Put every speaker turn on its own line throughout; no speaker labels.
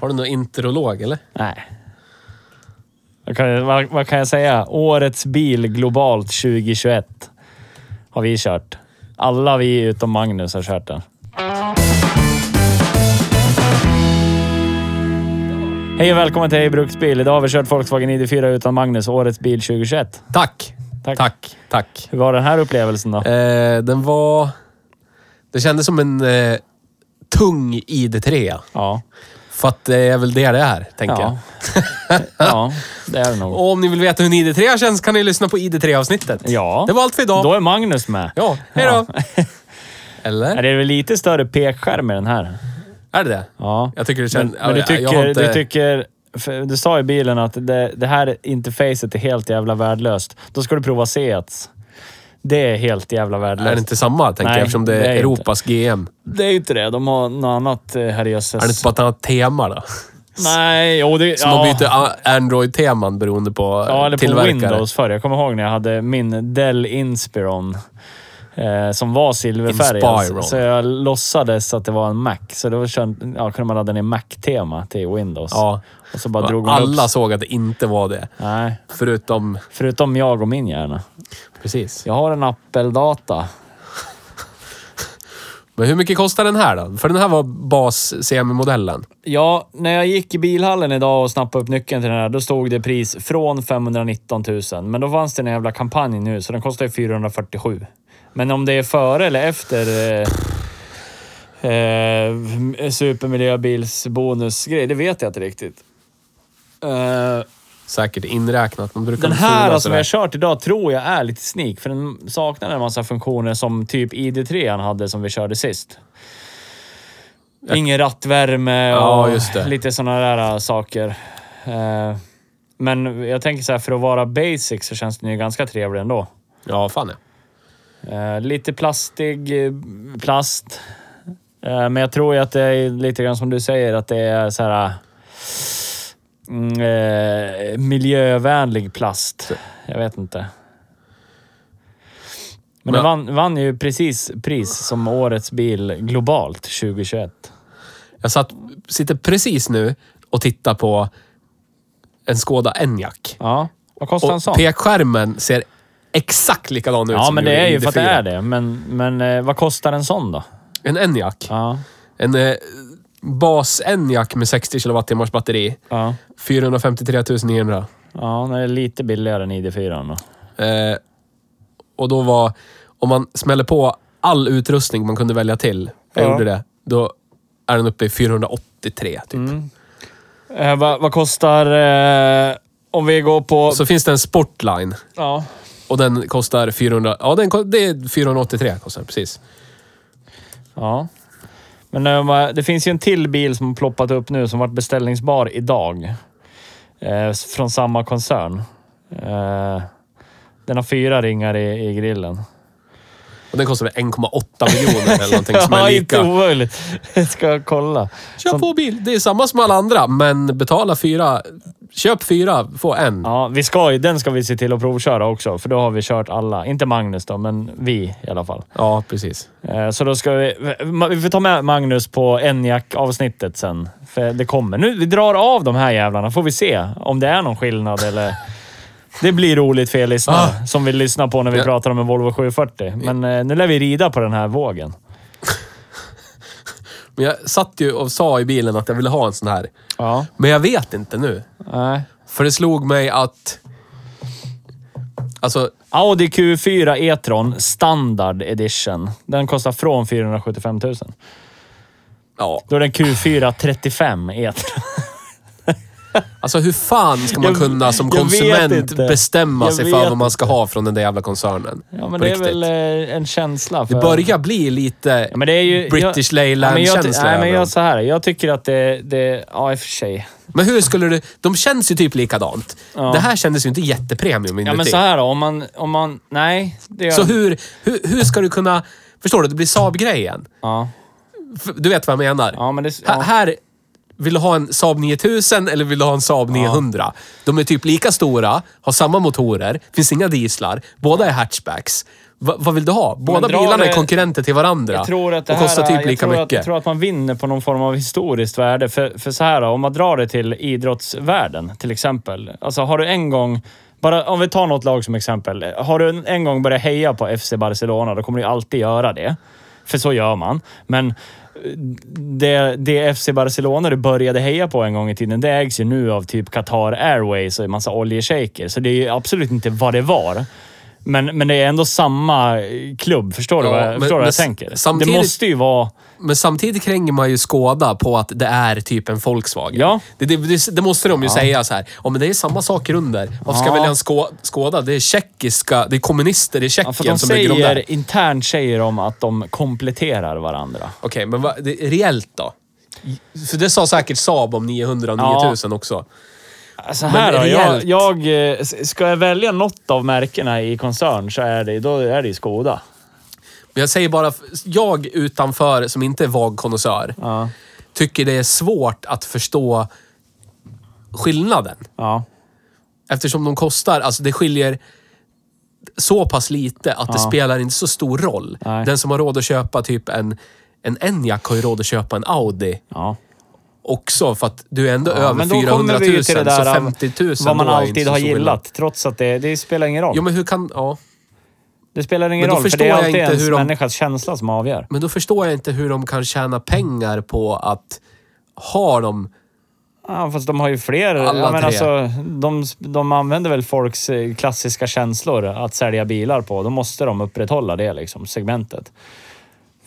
Har du någon introlog eller?
Nej. Vad kan, jag- vad, vad kan jag säga? Årets bil globalt 2021 har vi kört. Alla vi utom Magnus har kört den. Hej och välkommen till Hej Bruksbil. Idag har vi kört Volkswagen ID4 utan Magnus, årets bil 2021.
Tack!
Tack.
Tack. Tack.
Hur var den här upplevelsen då?
Eh, den var... Det kändes som en eh, tung ID3.
Ja.
För att det är väl det det är, tänker jag.
Ja. ja, det är det nog.
Och om ni vill veta hur en ID3 känns kan ni lyssna på ID3-avsnittet.
Ja.
Det var allt för idag.
Då är Magnus med.
Ja, hej då.
Ja,
Eller?
Det är väl lite större pekskärm i den här.
Är det det?
Ja.
Jag tycker det känns...
Men, men du
jag- jag har
tycker...
inte-
Du, tycker för du sa i bilen att det, det här interfacet är helt jävla värdelöst. Då ska du prova Seats. Det är helt jävla
Är det
värdelöst.
inte samma, tänker
Nej,
jag, eftersom det är
det är inte.
Europas GM?
Det är ju inte det. De har något annat eh, herrejösses.
Är det inte bara ett annat tema då?
Nej, jo det...
Som
ja.
de byter a- Android-teman beroende på eh,
Ja, eller
tillverkare.
på Windows förr. Jag kommer ihåg när jag hade min Dell Inspiron. Eh, som var silverfärgad.
Inspiron.
Så, så jag låtsades att det var en Mac. Så då kön- ja, kunde man ladda ner Mac-tema till Windows.
Ja.
Och så bara drog man
Alla
upp...
såg att det inte var det.
Nej,
Förutom...
förutom jag och min hjärna.
Precis.
Jag har en Apple-data.
Men hur mycket kostar den här då? För den här var bas-CM-modellen.
Ja, när jag gick i bilhallen idag och snappade upp nyckeln till den här, då stod det pris från 519 000. Men då fanns det en jävla kampanj nu, så den kostar ju 447. Men om det är före eller efter eh, eh, supermiljöbilsbonusgrej, det vet jag inte riktigt. Eh,
Säkert inräknat. De brukar
den
väl fula
här alltså, som
sådär.
jag kört idag tror jag är lite sneak, för den saknar en massa funktioner som typ ID3 an hade som vi körde sist. Ingen rattvärme och
Ja, just det.
lite sådana där äh, saker. Eh, Men jag tänker så här, för att vara basic så känns den ju ganska trevlig ändå.
Ja, fan ja.
Eh, Lite plastig eh, plast. Eh, Men jag tror ju att det är lite grann som du säger, att det är så här... mm, eh, miljövänlig plast. Jag vet inte. Men den
Men-
vann, vann ju precis pris som årets bil globalt 2021.
Jag satt, sitter precis nu och tittar på en Skoda Enyaq.
Ja. Vad kostar en sån?
Och pekskärmen ser exakt likadan ut
Ja,
som
men det
gjorde
är ju för att det
ID4.
är det. Men, men eh, vad kostar en sån då?
En Enyaq.
Ja.
En eh, bas Enyaq med 60 kWh batteri.
Ja.
453 900.
Ja, det är lite billigare än ID4. Då.
Eh, och då var... Om man smäller på all utrustning man kunde välja till, jag
Ja.
gjorde det, då är den uppe i 483 typ.
Mm. Eh, vad, vad kostar... Eh, om vi går på...
Så finns det en Sportline
ja.
och den kostar 400... Ja, den, ko- det är 483 kostar den, precis.
ja. Men eh, vad- det finns ju en till bil som har ploppat upp nu som varit beställningsbar idag. Eh, s- från samma koncern. Eh, den har fyra ringar i, i grillen.
Och den kostar väl 1,8 miljoner eller någonting som är
Ja, inte
lika.
omöjligt. Jag ska kolla.
Köp på bil. Det är samma som alla andra, men betala fyra. Köp fyra, få en.
Ja, vi ska, ju- den ska vi se till att provköra också, för då har vi kört alla. Inte Magnus då, men vi i alla fall.
Ja, precis.
Eh, Så då ska vi... Vi får ta med Magnus på Enyaq-avsnittet sen. För det kommer. Nu, vi drar av de här jävlarna, får vi se om det är någon skillnad eller... Det blir roligt för er lyssnare som vill lyssna på när vi
Ja.
pratar om en Volvo 740. Men eh, nu lär vi rida på den här vågen.
Men jag satt ju och sa i bilen att jag ville ha en sån här.
Ja.
Men jag vet inte nu.
Nej.
För det slog mig att Alltså,
Audi Q4 E-tron standard edition. Den kostar från 475 000.
ja.
Då är den Q4 35 E-tron.
alltså hur fan ska man
Jag-
kunna som
jag vet
konsument
inte.
bestämma
Jag
sig
vet
för vad man ska ha från den där jävla koncernen?
Ja,
På
men det är
riktigt.
väl eh, en känsla för...
Det börjar bli lite
Ja, men det är ju,
British
jag- Ja, men jag,
Leyland-känsla
nej, men
över dem.
jag så här. Jag tycker att det... det ja, i och för sig.
Men hur skulle du... De känns ju typ likadant. Det här kändes ju inte jättepremium
Ja,
inuti.
men så här då. Om man... Om man nej. Det gör
Så hur, hur, hur ska du kunna... Förstår du? Det blir Saab-grejen.
Ja.
F- Du vet vad jag menar?
ja, men det...
Här,
Ja.
här vill du ha en Saab 9000 eller vill du ha en Saab 900? De är typ lika stora, har samma motorer, finns inga dieslar, båda är hatchbacks. Va, vad vill du ha? Båda
Men dra
bilarna är
det-
konkurrenter till varandra
Jag tror att det
och
här,
kostar typ
jag
lika
tror Att, jag
mycket.
tror att man vinner på någon form av historiskt värde. För, för så här då, om man drar det till idrottsvärlden till exempel. Alltså har du en gång, bara om vi tar något lag som exempel. Har du en, en gång börjat heja på FC Barcelona, då kommer du ju alltid göra det. För så gör man. Men eh, det, det FC Barcelona du började heja på en gång i tiden, det ägs ju nu av typ Qatar Airways och en massa oljeshejker. Så det är ju absolut inte vad det var. Men, men det är ändå samma klubb. Förstår du
Ja,
vad jag,
men-
förstår
men
du vad jag
s-
tänker?
samtidigt-
Det måste ju vara...
Men samtidigt kränger man ju Skoda på att det är typ en Volkswagen.
Ja.
Det, det- det, det måste de ju säga så här. Ja, men det är samma saker under. Varför ska
Ja.
jag välja en Sko- Skoda? Det är tjeckiska, det är kommunister i
Ja,
Tjeckien
för de
som bygger de där.
säger, internt säger de att de kompletterar varandra.
Okej, men vad, det, reellt då? För det sa säkert Saab om 900 och
Ja.
9000 också.
Så Alltså, här
Men
då, jag,
rejält.
jag, eh, s- ska jag välja något av märkena i koncern så är det, då är det ju Skoda.
Men jag säger bara, jag utanför som inte är vag konnässör
Ja.
tycker det är svårt att förstå skillnaden.
Ja.
Eftersom de kostar, alltså det skiljer så pass lite att det spelar inte så stor roll.
Nej.
Den som har råd att köpa typ en, en Enyaq har ju råd att köpa en Audi
ja.
också för att du är ändå
Ja,
över 400 000 så 50 000
um, vad man
då är inte
alltid
så
har
stor skillnad.
gillat. Trots att det, det spelar ingen roll.
Jo men hur kan, ja.
det spelar ingen
Men då
roll, för
förstår
det är
jag
alltid
inte
ens
hur de-
människas känsla som avgör.
Men då förstår jag inte hur de kan tjäna pengar på att ha dem...
Ja, fast de har ju fler.
Alla
ja, men
tre.
alltså, de, de använder väl folks eh, klassiska känslor att sälja bilar på. Då måste de upprätthålla det liksom, segmentet.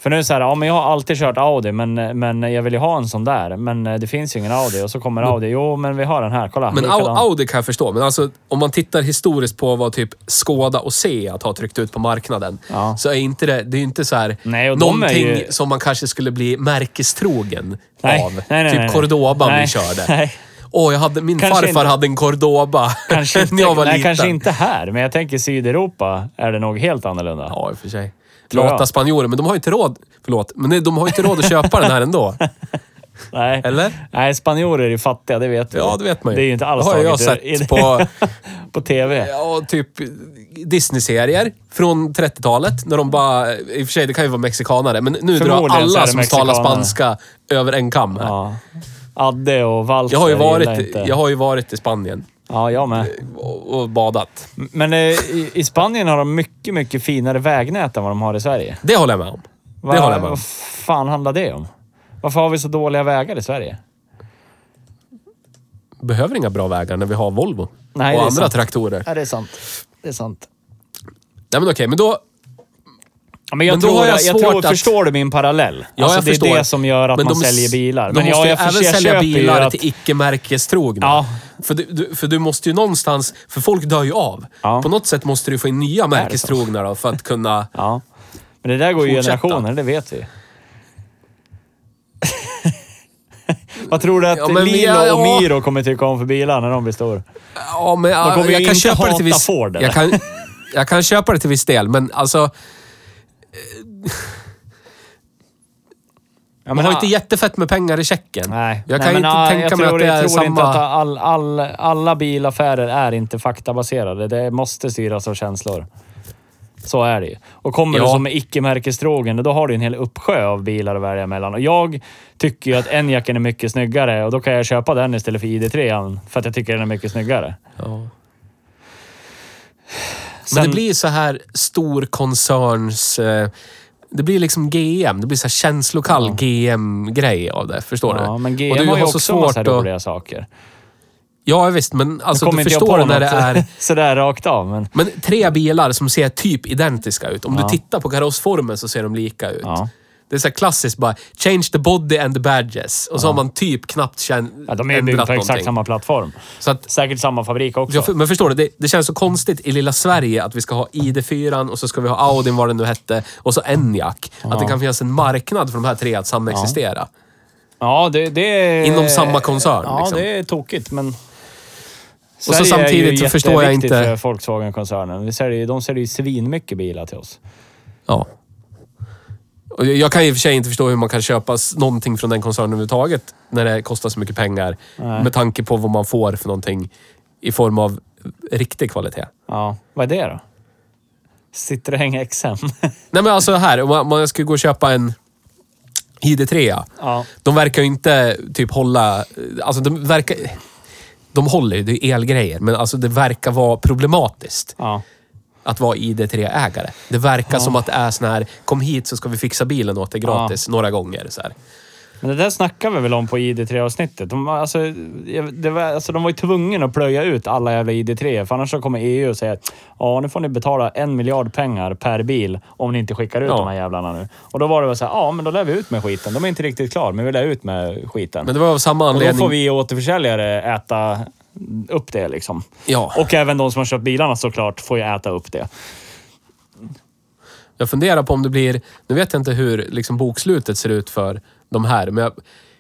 För nu är det så här, ja, men jag har alltid kört Audi, men, men jag vill ju ha en sån där. Men eh, det finns ju ingen Audi och så kommer Audi. Jo, men vi har den här. Kolla.
Men Au-
likadan.
Audi kan jag förstå, men alltså om man tittar historiskt på vad typ Skoda och Seat har tryckt ut på marknaden.
Ja.
Så är inte det, det är ju inte så här
Nej, och de är
någonting
ju-
som man kanske skulle bli märkestrogen
Nej,
av.
nej, nej,
typ
nej, nej.
Cordoba
Nej,
vi körde.
nej.
Åh, jag hade, min
Kanske
farfar
inte.
hade en Cordoba
Kanske inte,
när jag var
nej,
liten.
kanske inte här, men jag tänker Sydeuropa är det nog helt annorlunda.
Ja, i och för sig.
Tror jag.
Lata spanjorer, men de har ju inte råd... Förlåt, men nej, de har ju inte råd att köpa den här ändå.
Nej.
Eller?
Nej, spanjorer är fattiga, det vet vi.
Ja, det vet man ju.
Det är ju inte alls
Det har ju jag
taget i- i-
sett på
på TV.
ja, typ Disney-serier från 30-talet. När de bara, i och för sig det kan ju vara mexikanare, men nu drar
Förmodligen så
alla
är det
som talar
mexikanare.
spanska över en kam. här.
Ja. Adde och Walter
Jag har, ju
gillar
varit,
inte.
jag har ju varit i Spanien
Ja, jag med.
och, och badat.
Men eh, i, i Spanien har de mycket, mycket finare vägnät än vad de har i Sverige.
Det håller jag med om.
Va-
Det håller jag med om.
Vad fan handlar det om? Varför har vi så dåliga vägar i Sverige?
Behöver inga bra vägar när vi har Volvo
Nej,
och
det är
andra
sant.
traktorer.
Ja, det är sant. Det är sant.
Nej men okej, men då...
Ja, men jag,
Men då
tror,
har jag svårt
jag, tror,
att-
förstår du min parallell?
Ja,
alltså,
jag
det
förstår.
är det som gör att
Men
man
de-
säljer bilar.
De men måste
ja,
ju
jag
även
förs- jag
sälja
köper ju
bilar
att-
till icke-märkestrogna.
Ja.
För, du, du, för du måste ju någonstans... För folk dör ju av.
Ja.
På något sätt måste du få in nya märkestrogna då, för att kunna...
Ja. Men det där går ju i
Fortsätta.
generationer, det vet vi. Vad tror du att
Ja, men vi-
Lilo
ja.
och Miro kommer tycka om för bilar när de blir stora?
Ja, men ja,
kommer ju
jag kan
inte
köpa det
hata
till viss...
Ford, eller?
jag, kan, jag kan köpa det till viss del, men alltså... eh,
Ja,
man har ju inte jättefett med pengar i checken.
Nej.
Jag
Nej,
kan
men,
ju
ah,
inte tänka
jag
mig
tror,
att det är
jag tror inte att
samma...
all, all, alla bilaffärer är inte faktabaserade. Det måste styras av känslor. Så är det ju. Och kommer du
Ja.
som är icke-märkestrogen, då har du en hel uppsjö av bilar att välja mellan. Och jag tycker ju att Enjacen är mycket snyggare och då kan jag köpa den istället för ID3 för att jag tycker den är mycket snyggare.
Ja.
Sen,
Men det blir så här stor koncerns... eh, Det blir liksom GM. Det blir så här känslokall GM-grej av det. Förstår du?
Ja, men
Och
GM
det
har
så
ju också en massa
svårt att-
roliga saker.
Ja, visst, men alltså,
Kommer
du
inte jag på
förstår när det
något
är...
sådär rakt av. Men
Men tre bilar som ser typ identiska ut. Om
Ja.
du tittar på karossformen så ser de lika ut.
Ja.
Det är så här klassiskt bara, change the body and the badges. Och så har man typ knappt känt,
ja, de är ju byggda på exakt samma plattform.
Så att,
Säkert samma fabrik också.
jag, men förstår du, det, det känns så konstigt i lilla Sverige att vi ska ha ID4 och så ska vi ha Audin, vad den nu hette, och så Enyaq. Att det kan finnas en marknad för de här tre att samexistera.
Ja, det, det är...
Inom samma koncern,
Ja,
liksom.
det är tokigt, men...
så samtidigt så förstår jag inte-
för Volkswagen-koncernen. Vi säljer, de säljer ju svinmycket bilar till oss.
Ja. Och jag- jag kan i och för sig inte förstå hur man kan köpa s- någonting från den koncernen överhuvudtaget när det kostar så mycket pengar. Med tanke på vad man får för någonting i form av riktig kvalitet.
Ja, vad är det då? Citroën XM.
Nej men alltså här, om man- om jag skulle gå och köpa en ID3.
ja.
De verkar ju inte typ hålla... Alltså de verkar... De håller ju, det är elgrejer, men alltså det verkar vara problematiskt
ja.
att vara ID3-ägare. Det verkar som att det är sån här, kom hit så ska vi fixa bilen åt dig gratis några gånger. Så här.
Men det där snackar vi väl om på ID3-avsnittet. De, var- alltså, jag- det var, alltså, de var ju tvungna att plöja ut alla jävla ID3 för annars så kommer EU och säga att ja, nu får ni betala en miljard pengar per bil om ni inte skickar ut
Ja.
de här jävlarna nu. Och då var det väl så här, ja, men då lär vi ut med skiten. De är inte riktigt klara, men vi lär ut med skiten.
Men det var av samma
och då
anledning.
får vi återförsäljare äta upp det liksom.
Ja,
Och även de som har köpt bilarna såklart får ju äta upp det.
jag funderar på om det blir... Nu vet jag inte hur liksom, bokslutet ser ut för de här, men jag,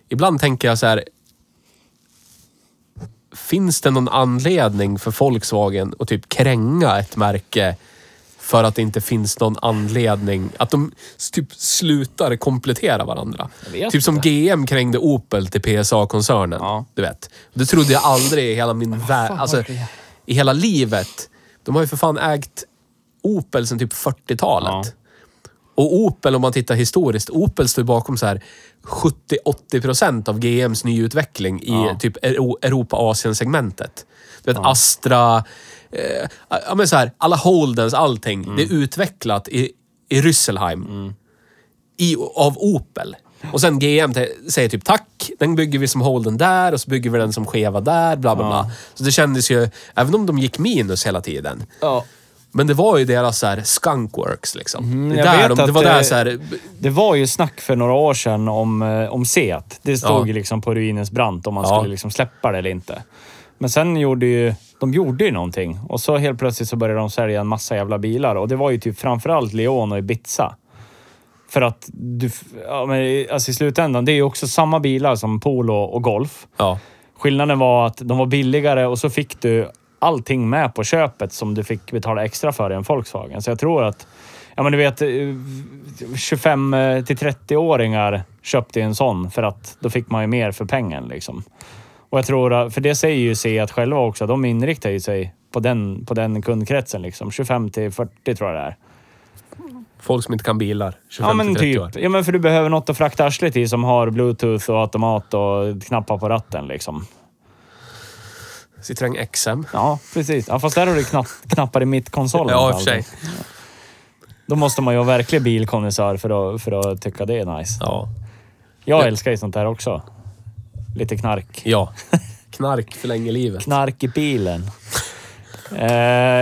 ibland tänker jag så här... Finns det någon anledning för Volkswagen att typ kränga ett märke för att det inte finns någon anledning att de s- typ slutar komplettera varandra?
vet
Typ som GM krängde Opel till PSA-koncernen.
Ja.
Du vet. Det trodde jag aldrig i hela min värld. Alltså, i hela livet. De har ju för fan ägt Opel sedan typ 40-talet.
Ja.
Och Opel, om man tittar historiskt, Opel står ju bakom så här 70-80 procent av GMs nyutveckling i typ Ero- Europa-Asien-segmentet. Du vet, Astra, eh, ja, men så här, alla Holdens, allting. Det är utvecklat i, i Rüsselheim. I, av Opel. Och sen GM te- säger typ tack, den bygger vi som Holden där och så bygger vi den som Cheva där, bla bla bla. Så det kändes ju, även om de gick minus hela tiden,
Ja.
men det var ju deras så här skunkworks liksom. det,
Mm, jag
där
vet
de,
att
det var
det-
där så här,
Det var ju snack för några år sedan om, eh, om Seat. Det stod
Ja.
ju liksom på ruinens brant om man
Ja.
skulle liksom släppa det eller inte. Men sen gjorde ju... De gjorde ju någonting och så helt plötsligt så började de sälja en massa jävla bilar och det var ju typ framförallt Leon och Ibiza. För att du... f- Ja, men, i- alltså i slutändan, det är ju också samma bilar som Polo och Golf.
ja.
Skillnaden var att de var billigare och så fick du allting med på köpet som du fick betala extra för i en Volkswagen. Så jag tror att, ja men du vet, eh, 25 eh, till 30-åringar köpte ju en sån för att då fick man ju mer för pengen liksom. Och jag tror, att- för det säger ju Seat själva också, de inriktar ju sig på den, på den kundkretsen liksom. 25 till 40 tror jag det är.
folk som inte kan bilar. 25
Ja men
30
typ.
år.
Ja men för du behöver något att frakta arslet i som har bluetooth och automat och knappar på ratten liksom. typ.
Citroën XM.
Ja, precis. Ja, fast där har du knapp, knappar i mittkonsolen.
Ja, i och för sig.
Då måste man ju vara verklig bilkonnässör för att, för att tycka det är nice.
Ja.
Jag älskar ju sånt där också. Lite knark.
ja. Knark förlänger livet.
Knark i bilen. Eh,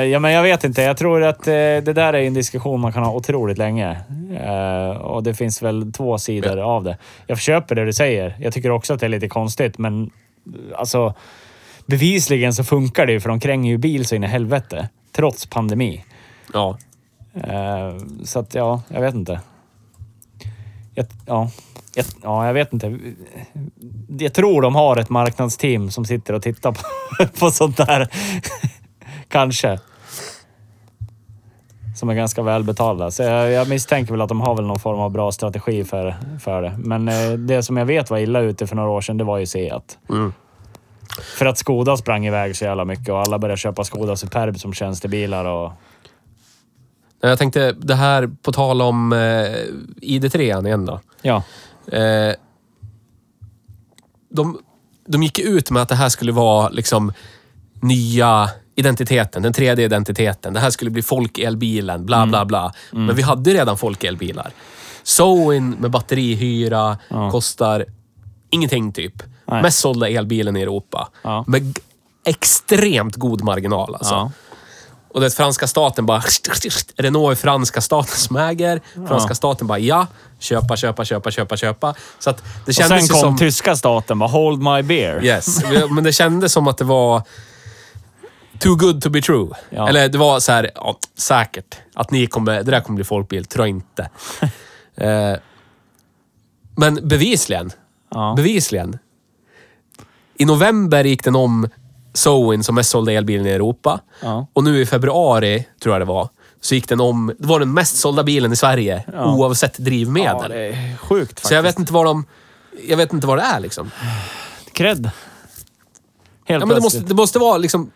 ja, men jag vet inte. Jag tror att eh, det där är en diskussion man kan ha otroligt länge. Eh, och det finns väl två sidor av det. Jag köper det du säger. Jag tycker också att det är lite konstigt, men eh, alltså bevisligen så funkar det ju för de kränger ju bil så in i helvete. Trots pandemi.
Ja.
Eh, så att ja, jag vet inte. Jag, ja, jag, ja, jag vet inte. Jag tror de har ett marknadsteam som sitter och tittar på, på sånt där. Kanske. Som är ganska välbetalda. Så jag, jag misstänker väl att de har väl någon form av bra strategi för, för det. Men eh, det som jag vet var illa ute för några år sedan, det var ju Seat. För att Skoda sprang iväg så jävla mycket och alla började köpa Skoda Superb som tjänstebilar och...
Nej, Jag tänkte, det här på tal om eh, ID3 igen då.
Ja.
Eh, de, de gick ut med att det här skulle vara liksom nya identiteten, den tredje identiteten. Det här skulle bli folkelbilen, bla bla
Mm.
bla. Men vi hade ju redan folkelbilar. Zoin med batterihyra kostar ingenting typ.
Nej.
Mest sålda elbilen i Europa.
Ja.
Med g- extremt god marginal alltså.
Ja.
Och det franska staten bara... Renault är franska staten som äger. Franska staten bara ja. Köpa, köpa, köpa, köpa, köpa. Så att det
Och sen
kändes ju
kom
som...
tyska staten bara “Hold my beer”.
Yes. Men det kändes som att det var... Too good to be true.
Ja.
Eller det var så här, ja, säkert. Att ni kommer, det där kommer bli folkbil, tror inte. eh, men bevisligen.
Ja.
Bevisligen. I november gick den om Zoen som mest sålda elbilen i Europa.
Ja.
Och nu i februari, tror jag det var, så gick den om... Det var den mest sålda bilen i Sverige, oavsett drivmedel.
Ja, det är sjukt faktiskt.
så jag vet inte vad de... Jag vet inte vad det är liksom.
Cred. Helt
Ja, men det,
plötsligt.
måste, det måste vara liksom...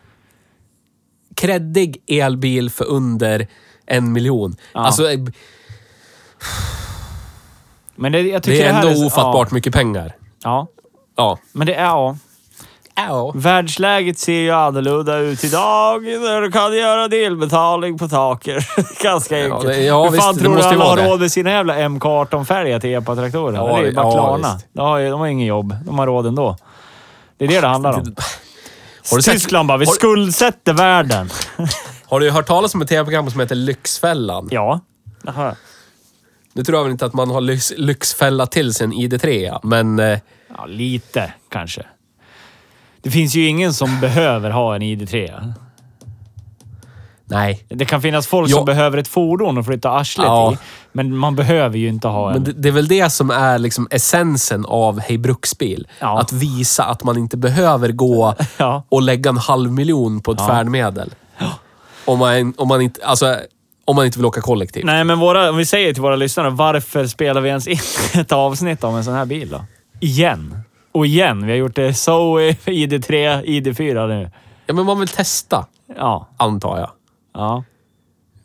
Kreddig elbil för under en miljon. Alltså, eh,
Men det, jag tycker
det är
här
ändå
så-
ofattbart mycket pengar.
Ja, ja.
Ja.
men det är... Ja.
Ow.
Världsläget ser ju annorlunda ut idag när du kan göra delbetalning på taker. Ganska enkelt.
det- ja,
Hur fan
visst, det
tror du
måste ju
alla har
vara det.
råd med sina jävla MK18-färger till EPA-traktorer?
Ja,
det är ju bara
ja,
Klarna.
visst.
De har, ju, de har ingen jobb. De har råd ändå. Det är det det handlar om.
Har du sett-
Tyskland bara, vi
har-
skuldsätter världen.
Har du hört talas om ett tv-program som heter Lyxfällan?
Ja. Jaha.
Nu tror jag väl inte att man har lyx, lyxfälla till sin ID3, men... Eh,
Ja, lite kanske. Det finns ju ingen som behöver ha en ID3.
nej.
Det kan finnas folk
Ja.
som behöver ett fordon att flytta arslet
Ja.
i, men man behöver ju inte ha en.
Men det, det är väl det som är liksom essensen av Hej Bruksbil.
Ja.
Att visa att man inte behöver gå
Ja.
och lägga en halv miljon på ett färdmedel. Om man, om, man inte, alltså, om man inte vill åka kollektivt.
Nej, men våra, om vi säger till våra lyssnare, varför spelar vi ens in ett avsnitt om en sån här bil då? Igen. Och igen. Vi har gjort det Zoe, ID3, ID4 nu.
Ja, men man vill testa,
Ja.
antar jag.
ja.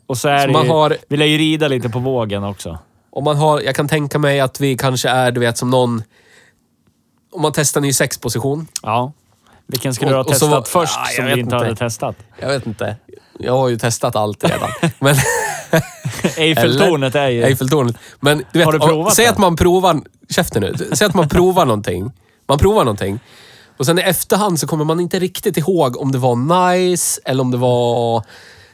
Och så är
Så
det
man
ju,
har-
Vi lär ju rida lite på vågen också.
Om man har, jag kan tänka mig att vi kanske är, du vet, som någon... Om man testar en ny sexposition.
Ja. Vilken skulle du ha
Och- och så
testat
var-
först
Ah, jag
som du
vet
inte, hade
inte.
testat?
Jag vet inte. Jag har ju testat allt redan. Men,
Eiffeltornet är ju...
Eiffeltornet. Men du vet,
Har du provat
och, säg
det?
att man provar... Käften nu. Säg att man provar någonting. Man provar någonting. Och sen i efterhand så kommer man inte riktigt ihåg om det var nice eller om det var...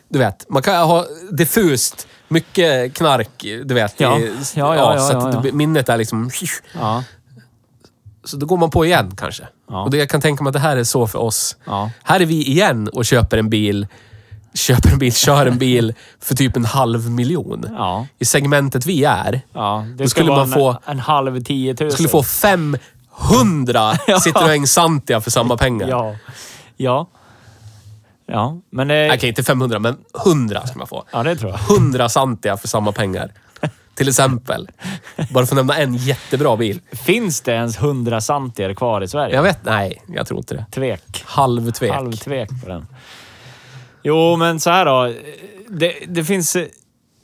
Du vet, man kan ha diffust mycket knark, du vet.
Ja.
i-
Ja, ja,
så
ja,
att
ja, ja.
det- minnet är liksom...
Ja.
Så då går man på igen kanske.
Ja.
Och det, jag kan tänka mig att det här är så för oss.
Ja.
Här är vi igen och köper en bil, köper en bil, kör en bil för typ en halv miljon.
Ja.
I segmentet vi är,
Ja, det
Då
skulle
skulle
vara
man få-
en, en halv tiotusen.
skulle få 500 Citroën Santia för samma pengar.
Ja. Ja. Ja, men det...
Okej, inte 500, men 100 ska man få.
Ja, det tror jag.
100 Santia för samma pengar. Till exempel. Bara för att nämna en jättebra bil.
Finns det ens 100 santier kvar i Sverige?
Jag vet, nej, jag tror inte det.
Tvek.
Halvtvek.
Halvtvek på den. Jo, men så här då. Det, det finns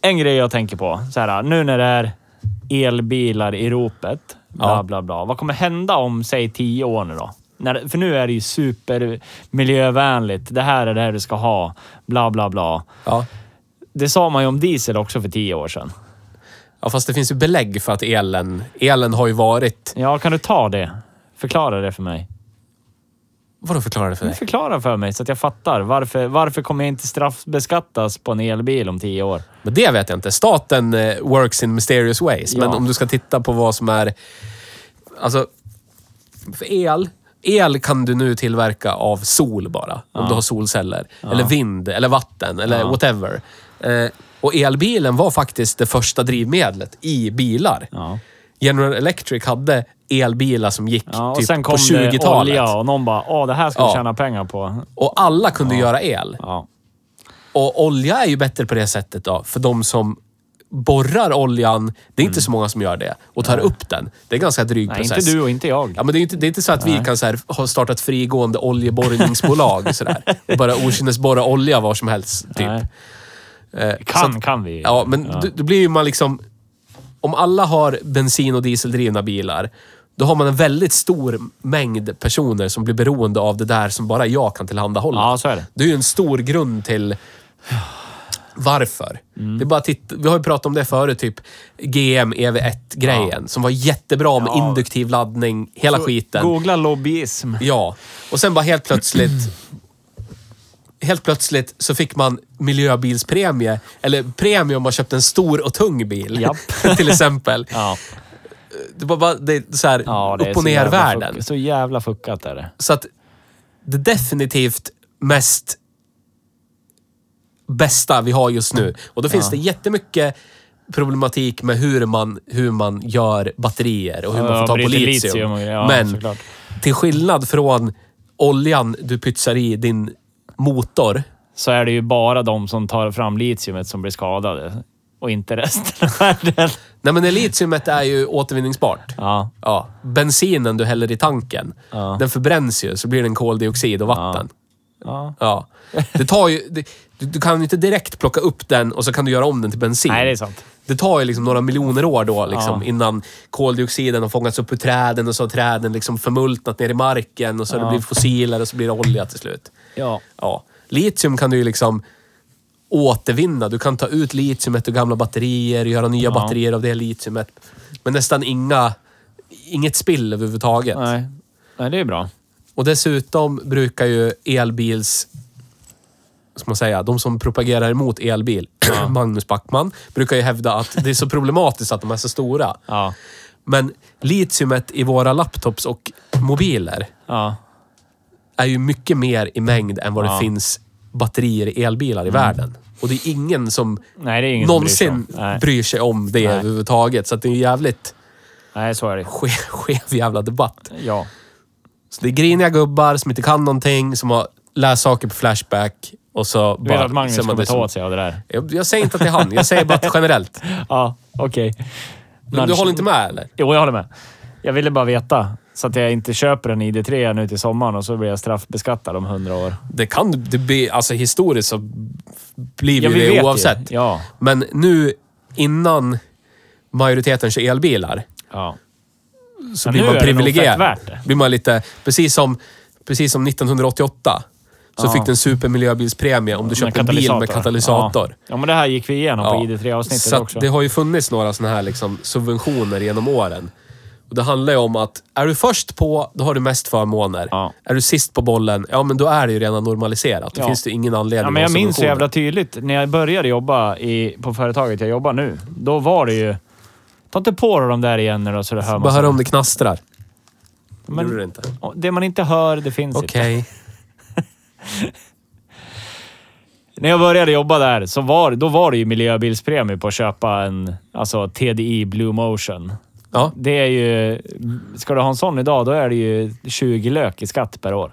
en grej jag tänker på. Så här, nu när det är elbilar i ropet. Bla,
Ja.
bla, bla. Vad kommer hända om, säg, tio år nu då? När, för nu är det ju supermiljövänligt. Det här är det här du ska ha. Bla, bla, bla.
Ja.
Det sa man ju om diesel också för tio år sedan.
ja, fast det finns ju belägg för att elen, elen har ju varit...
Ja, kan du ta det? Förklara det för mig.
Vadå förklara det för dig?
Förklara för mig så att jag fattar. Varför, varför kommer jag inte straffbeskattas på en elbil om tio år?
Men det vet jag inte. Staten eh, works in mysterious ways. Men
Ja.
om du ska titta på vad som är... Alltså, för el. El kan du nu tillverka av sol bara. Om du har solceller. Eller vind, eller vatten, eller whatever. Eh, och elbilen var faktiskt det första drivmedlet i bilar.
Ja.
General Electric hade elbilar som gick
Ja, och
typ
sen kom
på
det olja
20-talet.
och någon bara “Åh, det här ska vi
Ja.
tjäna pengar på”.
Och alla kunde göra el.
Ja.
Och olja är ju bättre på det sättet då, för de som borrar oljan, det är inte så många som gör det, och tar upp den. Det är en ganska dryg
Mm. Nej,
process.
inte du och inte jag.
Ja, men det är inte, det är inte så att vi kan så här, ha startat frigående oljeborrningsbolag sådär. Och bara okynnesborra olja var som helst, typ. Eh,
Nej.
så
kan,
att-
kan vi ju.
Ja, men Då, då blir ju man liksom... Om alla har bensin och dieseldrivna bilar, då har man en väldigt stor mängd personer som blir beroende av det där som bara jag kan tillhandahålla.
Ja, så är det.
Det är ju en stor grund till varför.
Mm.
Det är bara att titta, vi har ju pratat om det förut, typ GM EV1-grejen, som var jättebra med induktiv laddning, hela skiten.
Googla lobbyism.
Ja, och sen bara helt plötsligt helt plötsligt så fick man miljöbilspremie. Eller premie om man köpte en stor och tung bil.
Japp.
till exempel.
Ja.
Det var bara det är så här,
Ja, det är
upp och
så jävla
ner-världen.
fuck- Så jävla fuckat är det.
Så att det definitivt mest bästa vi har just nu. Och då finns det jättemycket problematik med hur man, hur man gör batterier och hur man
Ja,
får tag på
bryter
litium.
litium och grejer. Ja,
Men
såklart.
till skillnad från oljan du pytsar i din motor.
Så är det ju bara de som tar fram litiumet som blir skadade och inte resten av världen.
Nej men litiumet är ju återvinningsbart.
Ja.
Ja, bensinen du häller i tanken,
Ja.
den förbränns ju så blir den koldioxid och vatten.
ja.
Ja. Det tar ju, det, du, du kan ju inte direkt plocka upp den och så kan du göra om den till bensin.
Nej, det är sant.
Det tar ju liksom några miljoner år då liksom,
Ja.
innan koldioxiden har fångats upp ur träden och så har träden liksom förmultnat ner i marken och så har det
Ja.
blivit fossiler och så blir det olja till slut.
Ja.
Ja. Litium kan du ju liksom återvinna. Du kan ta ut litiumet ur gamla batterier, göra nya batterier av det litiumet. Men nästan inga, inget spill överhuvudtaget.
Nej. Nej, det är bra.
Och dessutom brukar ju elbils... Ska man säga? De som propagerar emot elbil, Magnus Backman, brukar ju hävda att det är så problematiskt att de är så stora.
Ja.
Men litiumet i våra laptops och mobiler
Ja.
är ju mycket mer i mängd än vad det
Ja. Mm.
finns batterier i elbilar i världen. Och det är ingen som
Nej, det är ingen som
någonsin
bryr sig om. Nej.
bryr sig om det
Nej.
överhuvudtaget. Så att det är en jävligt
Nej, så är det.
skev, skev jävla debatt.
Ja.
Så det är griniga gubbar som inte kan någonting, som har läst saker på Flashback och så
Du vet att Magnus
ser man
kommer
det som-
ta åt sig av det där?
jag, jag säger inte att det är han, jag säger bara att generellt.
Ja, okej.
Men du
Lunch-
håller inte med eller?
Jo, jag håller med. Jag ville bara veta så att jag inte köper en ID3 nu till sommaren och så blir jag straffbeskattad om hundra år.
Det kan det bli, alltså historiskt så blir
Ja,
vi
vi vet
det
ju.
oavsett.
Ja.
Men nu, innan majoriteten kör elbilar,
Ja.
så
Ja,
blir
nu
man
är det nog
privilegierad.
fett värt det.
blir man lite, precis som, precis som 1988, så fick du en supermiljöbilspremie om du köpte en bil med katalysator.
Ja. ja, men det här gick vi igenom på
Ja.
ID3-avsnittet
Så att
också.
det har ju funnits några sådana här liksom subventioner genom åren. Och det handlar ju om att är du först på, då har du mest förmåner.
Ja.
Är du sist på bollen, ja men då är det ju redan normaliserat. Då
Ja.
finns det ingen anledning
Ja, men
att
jag
ha
minns så
subventioner.
jävla tydligt. När jag började jobba i, på företaget jag jobbar nu, då var det ju... Ta inte på dig de där igen nu då, så det hör
Bara
man.
hör
så-
om det knastrar.
Men-
Gjorde det inte?
Det man inte hör, det finns inte.
Okej.
När jag började jobba där, så var, då var det ju miljöbilspremie på att köpa en alltså, TDI Blue Motion.
Ja.
Det är ju... Ska du ha en sån idag, då är det ju 20 lök i skatt per år.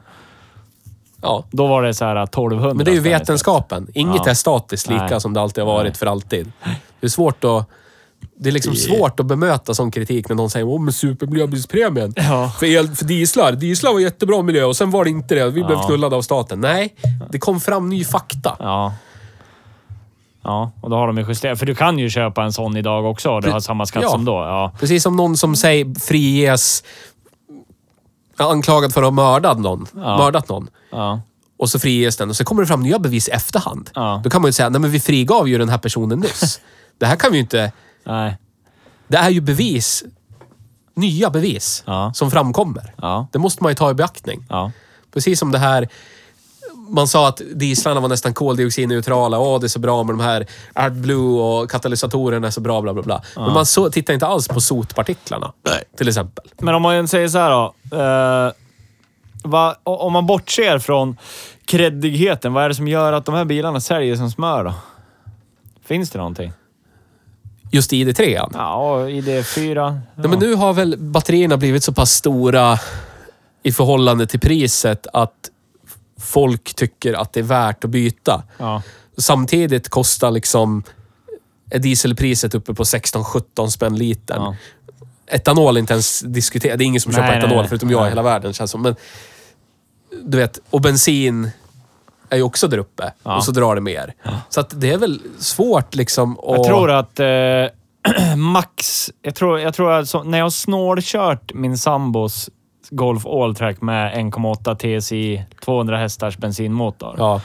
ja.
Då var det så här 1200
Men det är ju
spänn istället.
vetenskapen. Inget
Ja.
är statiskt lika
Nej.
som det alltid har varit för alltid. Det är svårt att... Det är liksom svårt att bemöta sån kritik när någon säger åh men supermiljöbilspremien.
Ja.
För, el, för dieslar. Dieslar var jättebra miljö och sen var det inte det. Vi blev knullade av staten. Nej, det kom fram ny fakta.
Ja. Ja, och då har de ju justerat. För du kan ju köpa en sån idag också och du har samma skatt
Ja.
som då. Ja.
Precis som någon som säger friges... är Anklagad för att ha mördat någon. Mördat någon.
Ja.
Och så friges den och så kommer det fram nya bevis i efterhand.
Ja.
Då kan man ju säga, nej men vi frigav ju den här personen nyss. det här kan vi ju inte...
Nej.
Det är ju bevis. Nya bevis
Ja.
som framkommer.
Ja.
Det måste man ju ta i beaktning.
Ja.
Precis som det här... Man sa att dieslarna var nästan koldioxidneutrala. Åh, det är så bra med de här AdBlue och katalysatorerna är så bra, bla bla bla. Men man så, tittar inte alls på sotpartiklarna. Till exempel.
Men om man säger så här då. Eh, vad- o- om man bortser från kreddigheten, vad är det som gör att de här bilarna säljer som smör då? Finns det någonting?
Just i ID3. Ja.
Ja, och ID4. Ja.
Nej, men nu har väl batterierna blivit så pass stora i förhållande till priset att folk tycker att det är värt att byta.
Ja.
Samtidigt kostar liksom är dieselpriset uppe på 16-17 spänn litern.
Ja.
Etanol är inte ens diskuterat. Det är ingen som
Nej,
köper
nej,
etanol
nej.
förutom jag i hela världen känns som. Men, du vet, och bensin är ju också där uppe. Och så drar det mer. Så att det är väl svårt liksom att...
Jag tror att eh, max... Jag tror, jag tror att så, när jag har snålkört min sambos Golf Alltrack med 1,8 TSI 200 hästars bensinmotor
Ja.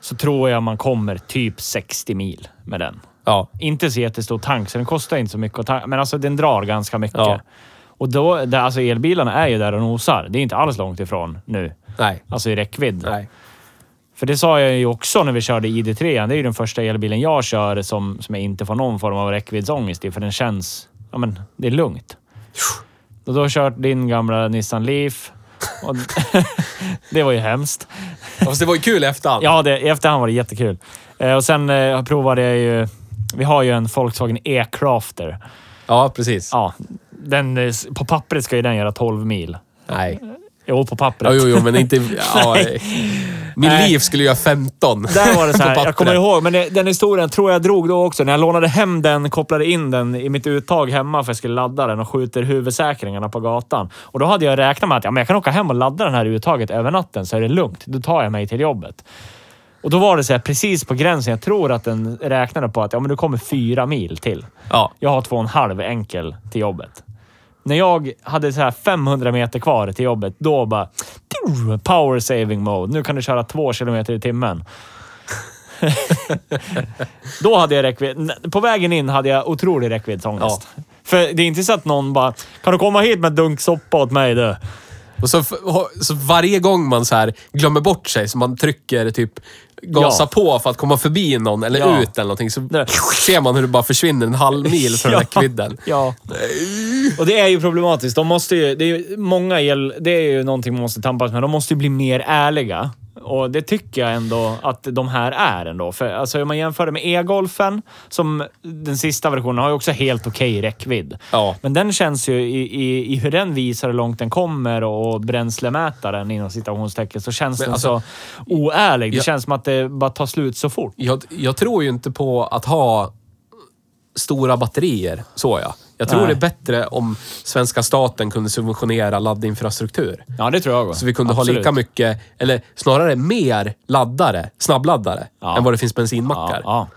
så tror jag man kommer typ 60 mil med den.
Ja.
Inte så jättestor tank, så den kostar inte så mycket att tanka, men alltså den drar ganska mycket.
Ja.
Och då, det, alltså elbilarna är ju där och nosar. Det är inte alls långt ifrån nu.
Nej.
Alltså i räckvidd.
Nej.
För det sa jag ju också när vi körde ID3. Det är ju den första elbilen jag kör som, som jag inte får någon form av räckviddsångest i, för den känns... Ja, men det är lugnt. Och då har jag kört din gamla Nissan Leaf. Och det var ju hemskt.
Fast det var ju kul i efterhand.
Ja, det, i efterhand var det jättekul. Eh, och sen eh, provade jag ju... Vi har ju en Volkswagen E-Crafter.
Ja, precis.
Ja, den, eh, s- på pappret ska ju den göra 12 mil.
Nej.
Jo, på pappret.
Ja, jo, jo, men inte... Ja, min
Nej.
liv skulle göra 15.
Där var det så
På
här, jag
pappret.
kommer ihåg, men det- den historien tror jag drog då också. När jag lånade hem den, kopplade in den i mitt uttag hemma för jag skulle ladda den och skjuter huvudsäkringarna på gatan. Och då hade jag räknat med att ja, men jag kan åka hem och ladda den här i uttaget över natten så är det lugnt. Då tar jag mig till jobbet. Och då var det så här, precis på gränsen. Jag tror att den räknade på att ja, men du kommer fyra mil till.
Ja.
Jag har två och en halv enkel till jobbet. När jag hade så här 500 meter kvar till jobbet, då bara... "Tju! Power saving mode. Nu kan du köra två kilometer i timmen. då hade jag räckvidd. n- På vägen in hade jag otrolig räckviddsångest. För det är inte så att någon bara, kan du komma hit med en dunk soppa åt mig du?
Och så, f- ha- så varje gång man så här glömmer bort sig, så man trycker typ gasa
Ja.
på för att komma förbi någon eller
Ja.
ut eller någonting, så
Det-
ser man hur det bara försvinner en halv mil från räckvidden.
Ja. Och det är ju problematiskt. De måste ju, det är ju många el, det är ju någonting man måste tampas med. De måste ju bli mer ärliga. Och det tycker jag ändå att de här är ändå. För alltså, om man jämför det med e-golfen, som den sista versionen har ju också helt okej räckvidd.
Ja.
Men den känns ju i, i, i hur den visar hur långt den kommer och bränslemätaren inom citationstecken så känns den
alltså-
så oärlig. Det
Ja.
känns som att det bara tar slut så fort.
Jag, jag tror ju inte på att ha stora batterier, så jag. Jag tror
Nej.
det är bättre om svenska staten kunde subventionera laddinfrastruktur.
Ja, det tror jag.
Så vi kunde ha lika mycket, eller snarare mer laddare, snabbladdare,
Ja.
än vad det finns
Ja,
bensinmackar.
ja.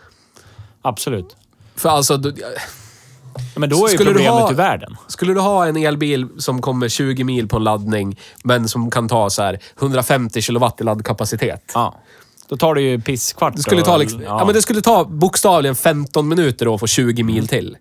Absolut.
För alltså, du-
Ja, Men då är ju
Skulle du
problemet
ha-
ur världen.
skulle du ha en elbil som kommer 20 mil på en laddning, men som kan ta så här 150 kilowatt i laddkapacitet.
Ja. Då tar det ju pisskvart.
Det skulle,
och-
ta, liksom,
ja.
ja. men det skulle ta bokstavligen 15 minuter då att få 20
Mm.
mil till.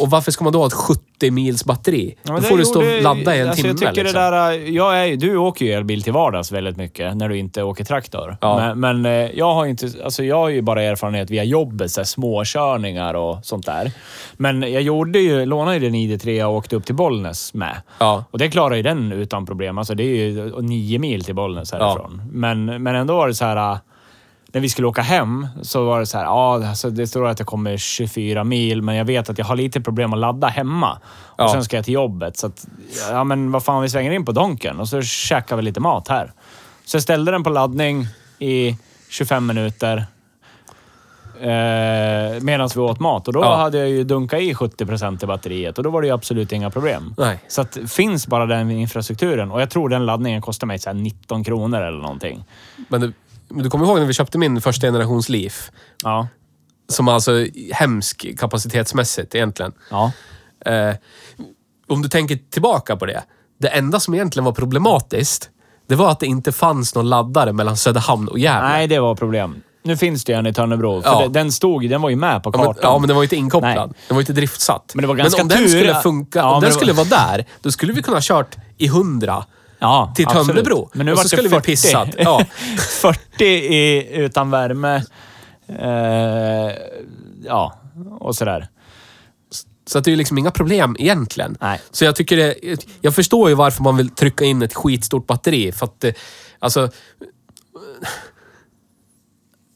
Och varför ska man då ha ett 70 mils batteri?
Ja,
då
men det
får du stå
gjorde-
och ladda i en
alltså,
timme.
Jag tycker
liksom.
det där, äh, jag är, ju- du åker ju elbil till vardags väldigt mycket när du inte åker traktor.
Ja.
Men, men eh, jag har ju inte, alltså jag har ju bara erfarenhet via jobbet, så här, småkörningar och sånt där. Men jag gjorde ju, lånade ju den ID3 och åkte upp till Bollnäs med.
Ja.
Och det klarar ju den utan problem. Alltså det är ju nio mil till Bollnäs härifrån. Men, men ändå var det så här... äh, När vi skulle åka hem så var det så här, ja, alltså det står att jag kommer 24 mil, men jag vet att jag har lite problem att ladda hemma. Och
Ja.
sen ska jag till jobbet. Så att, ja men vad fan, vi svänger in på Donken och så käkar vi lite mat här. Så jag ställde den på laddning i 25 minuter. Eh, Medan vi åt mat och då
Ja.
hade jag ju dunkat i 70 i batteriet och då var det ju absolut inga problem.
Nej.
Så att, finns bara den infrastrukturen och jag tror den laddningen kostar mig så här 19 kronor eller någonting.
Men du, men du kommer ihåg när vi köpte min första generations Leaf?
Ja.
Som alltså är hemsk kapacitetsmässigt egentligen.
Ja.
Eh, om du tänker tillbaka på det. Det enda som egentligen var problematiskt, det var att det inte fanns någon laddare mellan Söderhamn och Gävle.
Nej, det var problem. Nu finns det ju en i Tönnebro. För
Ja.
det, den stod den var ju med på
Ja men,
kartan.
ja, men den var ju inte inkopplad.
Nej.
Den var ju inte driftsatt.
Men det var ganska
om den
tur
skulle
att-
funka,
Ja,
om
men
den
det var-
skulle vara där, då skulle vi kunna ha kört i 100
Ja,
till
absolut.
Tönnebro.
Men nu
och
vart
så
det
skulle
40.
vi pissat. Ja.
40 i, utan värme. Eh, ja, och sådär.
Så att det är ju liksom inga problem egentligen.
Nej.
Så jag tycker det, Jag förstår ju varför man vill trycka in ett skitstort batteri. För att det, Alltså...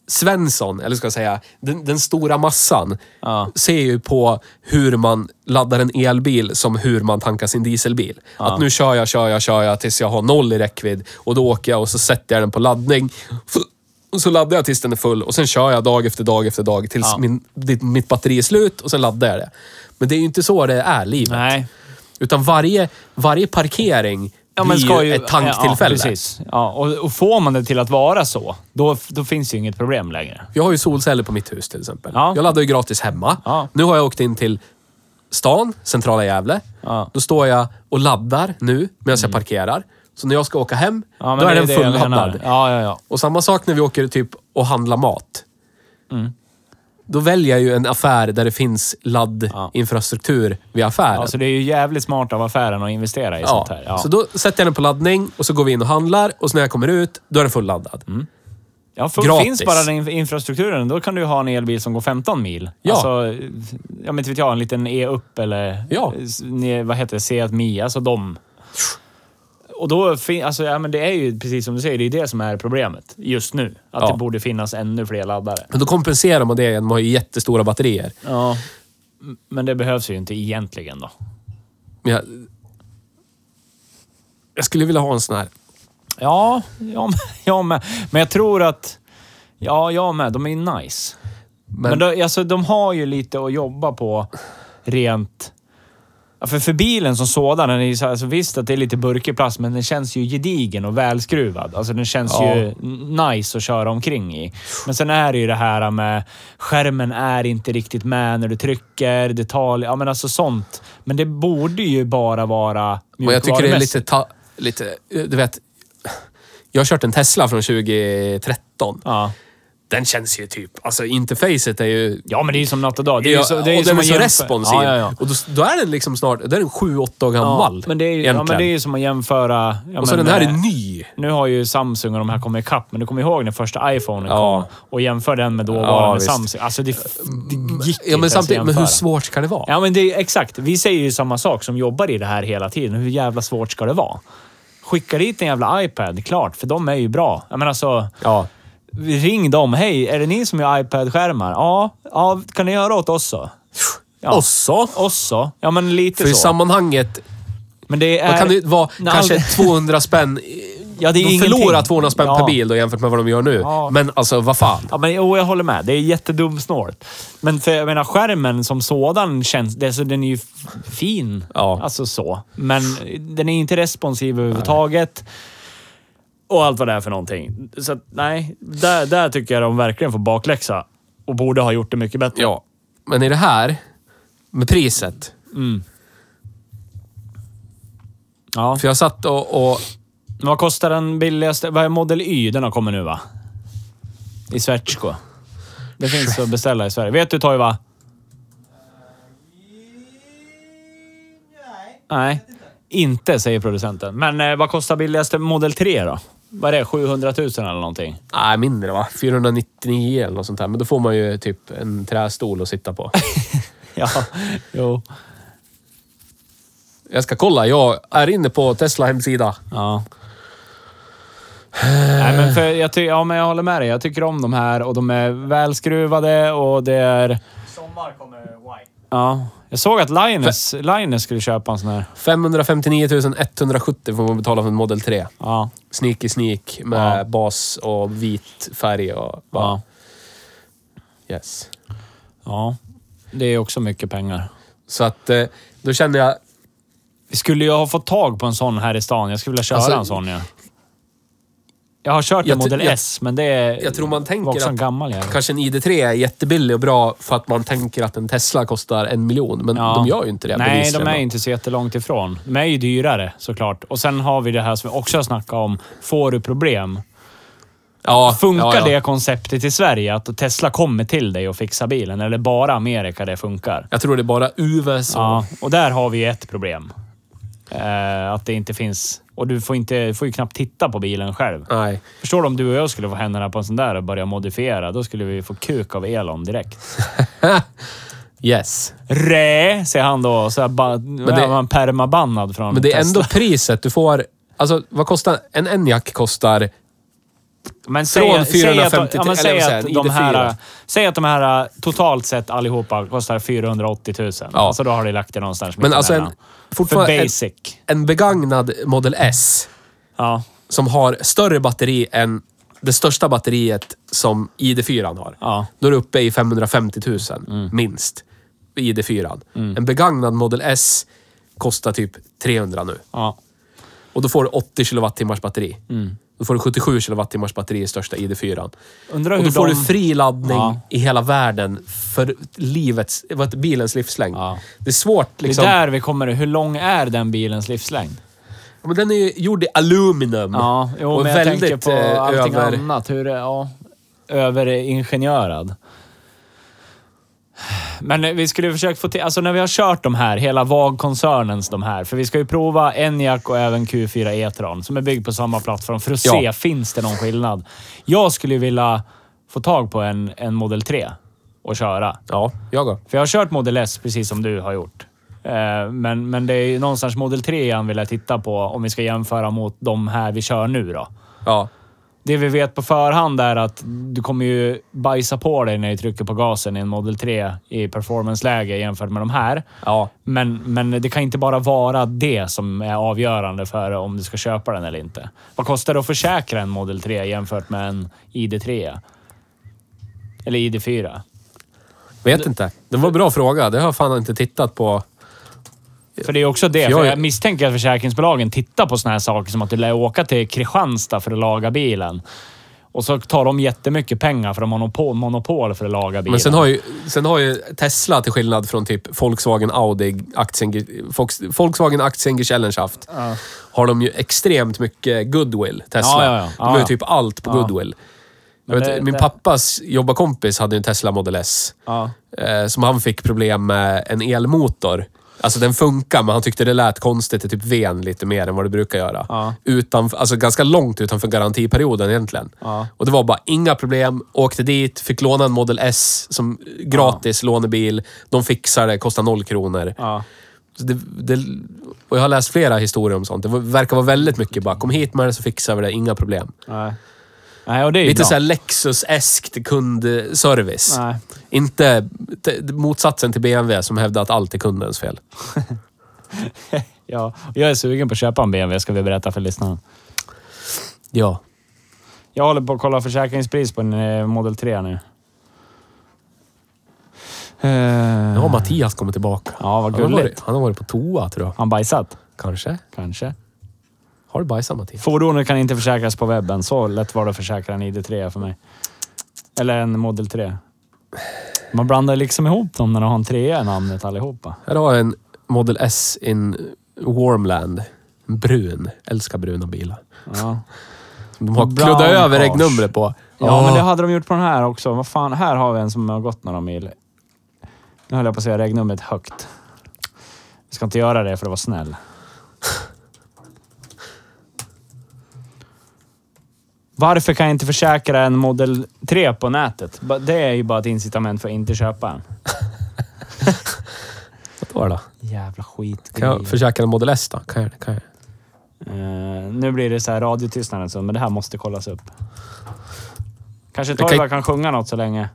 Svensson, eller ska jag säga, den, den stora massan
Ja.
ser ju på hur man laddar en elbil som hur man tankar sin dieselbil. Att nu kör jag, kör jag, kör jag tills jag har noll i räckvidd och då åker jag och så sätter jag den på laddning. Och så laddar jag tills den är full och sen kör jag dag efter dag efter dag tills
Ja.
min, ditt, mitt batteri är slut och sen laddar jag det. Men det är ju inte så det är livet.
Nej.
Utan varje, varje parkering blir ju ett tanktillfälle.
Ja, precis. Ja, och, och får man det till att vara så, då, då finns ju inget problem längre.
Jag har ju solceller på mitt hus till exempel.
Ja.
Jag laddar ju gratis hemma.
Ja.
Nu har jag åkt in till stan, centrala Gävle.
Ja. Mm.
Då står jag och laddar nu medan jag parkerar. Så när jag ska åka hem,
Ja, men
då är
det
den
är det jag menar.
fulladdad.
Ja, ja, ja.
Och samma sak när vi åker typ och handlar mat.
Mm.
Då väljer jag ju en affär där det finns laddinfrastruktur vid affären.
ja. Så Alltså, det är ju jävligt smart av affären att investera i
Ja.
sånt här. Ja. Mm.
Så då sätter jag den på laddning och så går vi in och handlar och så när jag kommer ut, då är den fulladdad.
Ja, för
Gratis.
finns bara den inf- infrastrukturen, då kan du ju ha en elbil som går 15 mil.
Ja.
Alltså, ja men inte vet jag, en liten E-upp eller
Ja.
s- ne- vad heter det, Seat Mia, alltså de. Och då fin- alltså, ja, men det är ju precis som du säger, det är det som är problemet just nu. Att
Ja.
det borde finnas ännu fler laddare.
Men då kompenserar man det genom att ha jättestora batterier.
Ja. M- Men det behövs ju inte egentligen då.
Men jag, jag skulle vilja ha en sån här.
Ja, jag med. Jag med. Men jag tror att... Ja, jag med. De är ju nice. Men,
Men,
då, alltså, de har ju lite att jobba på rent... Ja, För, för bilen som sådan, den är ju så här, alltså, visst att det är lite burkig plast, men den känns ju gedigen och välskruvad. Alltså den känns
Ja.
ju nice att köra omkring i. Men sen är det ju det här med skärmen är inte riktigt med när du trycker, det tar... Ja, men alltså sånt. Men det borde ju bara vara
och jag tycker det är
mjukvarumässigt.
lite, ta, lite... Du vet, jag har kört en Tesla från 2013.
Ja.
Den känns ju typ... Alltså interfacet är ju...
ja, men det är ju som natt och dag. Det är ju
Ja,
så, det är ju
och den
som
är
att
så
jämföra-
responsiv.
Ja, ja, ja.
Och då, då är den liksom snart... Då är den 7-8 år gammal.
Ja, men det är ju, ja, men
egentligen.
det är ju som att jämföra... Ja,
och så
men,
den här
eh,
är ny.
Nu har ju Samsung och de här kommit ikapp, men du kommer ihåg när första iPhonen
Ja.
kom och jämför den med
Ja,
dåvarande
visst.
Samsung. Alltså det, det gick
Ja,
inte
men,
ens
samtidigt,
att
men hur
jämföra.
svårt ska det vara?
Ja, men det är exakt. Vi säger ju samma sak som jobbar i det här hela tiden. Hur jävla svårt ska det vara? Skicka dit en jävla iPad, klart, för de är ju bra. Jag menar alltså,
Ja.
ring dem. Hej, är det ni som gör iPad-skärmar? Ja, ja, kan ni göra åt oss så? Ja.
Och så...
Oss så? Ja, men lite
För i
så.
sammanhanget
men det är...
Då kan det ju vara
Nej, alltså-
kanske
all-
200 spänn.
Ja, det är
de
ingenting.
förlorar 200 spänn
Ja.
per bil då jämfört med vad de gör nu.
Ja.
Men alltså, vad fan.
Ja, men jo, jag håller med. Det är jättedumsnålt. Men för, jag menar, skärmen som sådan känns... Det, alltså, den är ju f- fin.
Ja.
Alltså så. Men den är inte responsiv överhuvudtaget. Och allt vad det är för någonting. Så att, nej, där, där tycker jag de verkligen får bakläxa. Och borde ha gjort det mycket bättre.
Ja. Men i det här, med priset.
Ja.
För jag satt och... och
Men Vad kostar den billigaste? Vad är Model Y? Den har kommit nu va? I Svertsko. Det finns att beställa i Sverige. Vet du Toiva? Nej. Inte, säger producenten. Men eh, vad kostar billigaste Model 3 då? Vad är det? 700 000 eller någonting?
nej, mindre va? 499 eller något sånt där. Men då får man ju typ en trästol att sitta på.
Ja, jo.
Jag ska kolla. Jag är inne på Tesla hemsida.
Ja. Nej, men för jag, ty- ja, men jag håller med dig. Jag tycker om de här och de är välskruvade och det är...
Sommar kommer White.
Ja. Jag såg att Linus, Linus skulle köpa en sån här.
559 170 får man betala för en Model 3.
Ja.
Sneaky sneak med
Ja.
bas och vit färg och...
Ja.
Yes.
ja. Det är också mycket pengar.
Så att eh, då kände jag...
Vi skulle ju ha fått tag på en sån här i stan. Jag skulle vilja köra
Alltså,
en sån ja. Jag har kört
jag
en
ty-
Model
jag-
S, men det är...
Jag tror man
var också
tänker
en
att
gammal jävel.
kanske en ID3 är jättebillig och bra för att man tänker att en Tesla kostar en miljon. Men
Ja.
de gör ju inte det
Nej, de
bevisligen.
är inte så jättelångt ifrån. De är ju dyrare såklart. Och sen har vi det här som vi också har snackat om. Får du problem?
Ja,
Funkar
ja, ja.
det konceptet i Sverige? Att Tesla kommer till dig och fixar bilen? Eller bara Amerika det funkar?
Jag tror det är bara UVs och...
Ja, och där har vi ju ett problem. Eh, att det inte finns... Och du får, inte, får ju knappt titta på bilen själv.
Nej.
Förstår du om du och jag skulle få händerna på en sån där och börja modifiera? Då skulle vi få kuk av Elon direkt.
Yes.
Rä, säger han då. Så här, ba, men
det-
det, man permabannad från
Men det är
Tesla.
ändå priset du får... Alltså, vad kostar... En Enyaq kostar... från
Men säg att,
450
ja, men
eller
säg,
vad säger
att
jag,
de
ID4.
här, säg att de här äh, totalt sett allihopa kostar 480 000.
Ja.
Alltså då har du lagt det någonstans
Men alltså en...
mittemellan. För
Fortfarande en,
basic.
en begagnad Model S
Ja.
som har större batteri än det största batteriet som ID4 har.
Ja. Mm.
Då är du uppe i 550 000 minst. ID4. En begagnad Model S kostar typ 300 nu.
ja.
Och då får du 80 kilowattimmars batteri.
Mm.
Då får du 77 kilowattimmars batteri i största ID4.
Undrar
Och
hur
då får
de-
du fri laddning
Ja.
i hela världen för livets, vad- bilens livslängd.
Ja.
Det är svårt liksom.
Det är där vi kommer. Hur lång är den bilens livslängd?
Men den är ju gjord i aluminium.
Ja, jo,
och
men jag tänker på
eh,
allting annat. Hur, det- ja, överingenjörad. Men vi skulle ju försöka få till... Alltså när vi har kört de här, hela VAG-koncernens de här. För vi ska ju prova Enyaq och även Q4 E-tron som är byggd på samma plattform för att
Ja.
se, finns det någon skillnad? Jag skulle ju vilja få tag på en, en Model 3 och köra.
Ja, jag går.
För jag har kört Model S precis som du har gjort. Eh, Men, men det är ju någonstans Model 3 jag vill titta på om vi ska jämföra mot de här vi kör nu då.
Ja.
Det vi vet på förhand är att du kommer ju bajsa på dig när du trycker på gasen i en Model 3 i performance-läge jämfört med de här.
Ja.
Men, men det kan inte bara vara det som är avgörande för om du ska köpa den eller inte. Vad kostar det att försäkra en Model 3 jämfört med en ID3? Eller ID4?
Vet inte. Det var en bra fråga. Det har jag fan inte tittat på.
För det är också det.
För
För
jag-
jag, misstänker att försäkringsbolagen tittar på såna här saker som att du lär åka till Kristianstad för att laga bilen. Och så tar de jättemycket pengar för de har monopol, monopol för att laga bilen.
Men sen har, ju, sen har ju Tesla, till skillnad från typ Volkswagen Audi, Aktien, Volks- Volkswagen Aktiengesellenschaft, har de ju extremt mycket goodwill, Tesla.
Ja, ja, ja.
De har ju
Ja,
typ allt på goodwill. Jag vet,
det-
min
det-
pappas jobbarkompis hade ju en Tesla Model S.
Ja.
eh, som han fick problem med en elmotor. Alltså den funkar, men han tyckte det lät konstigt i typ ven lite mer än vad det brukar göra.
Ja.
Utan, alltså ganska långt utanför garantiperioden egentligen.
Ja.
Och det var bara inga problem. Åkte dit, fick låna en Model S som gratis lånebil. De fixade det, kostade noll kronor.
Ja.
Så det, det, och jag har läst flera historier om sånt. Det var- verkar vara väldigt mycket bara, kom hit med det så fixar vi det, inga problem.
Nej. Nej, och det är ju
Lite
bra.
såhär Lexus-eskt kundservice.
Nej.
Inte t- motsatsen till BMW som hävdar att allt är kundens fel.
Ja, och jag är sugen på att köpa en BMW, ska vi berätta för lyssnarna.
Ja.
Jag håller på att kolla försäkringspris på en eh, Model 3 nu.
Nu har Mattias kommit tillbaka.
Eh, Ja, vad
han, har varit,
gulligt.
han har varit på toa tror jag.
Han bajsat?
Kanske.
Kanske.
Har du bajsat Mattias?
Fordonet kan inte försäkras på webben. Så lätt var det att försäkra en ID3 för mig. Eller en Model 3. Man blandar liksom ihop dem när de har en 3 i namnet allihopa.
Här har jag en Model S in Warmland. En Brun. Älskar bruna bilar.
Ja,
Som de har
Brown
kluddat över
Cars.
regnumret på.
ja men det hade de gjort på den här också. Vad fan, här har vi en som har gått några mil. Nu höll jag på att säga regnumret högt. Vi ska inte göra det för att vara snäll. Varför kan jag inte försäkra en Model 3 på nätet? Ba- Det är ju bara ett incitament för att inte köpa en.
Vad var det då?
Jävla skit.
Kan jag försäkra en Model S då? Kan jag, det? kan jag. det?
Eh, nu blir det så här radiotystnad en stund, men det här måste kollas upp. Kanske
kan-
Torva kan... sjunga något så länge.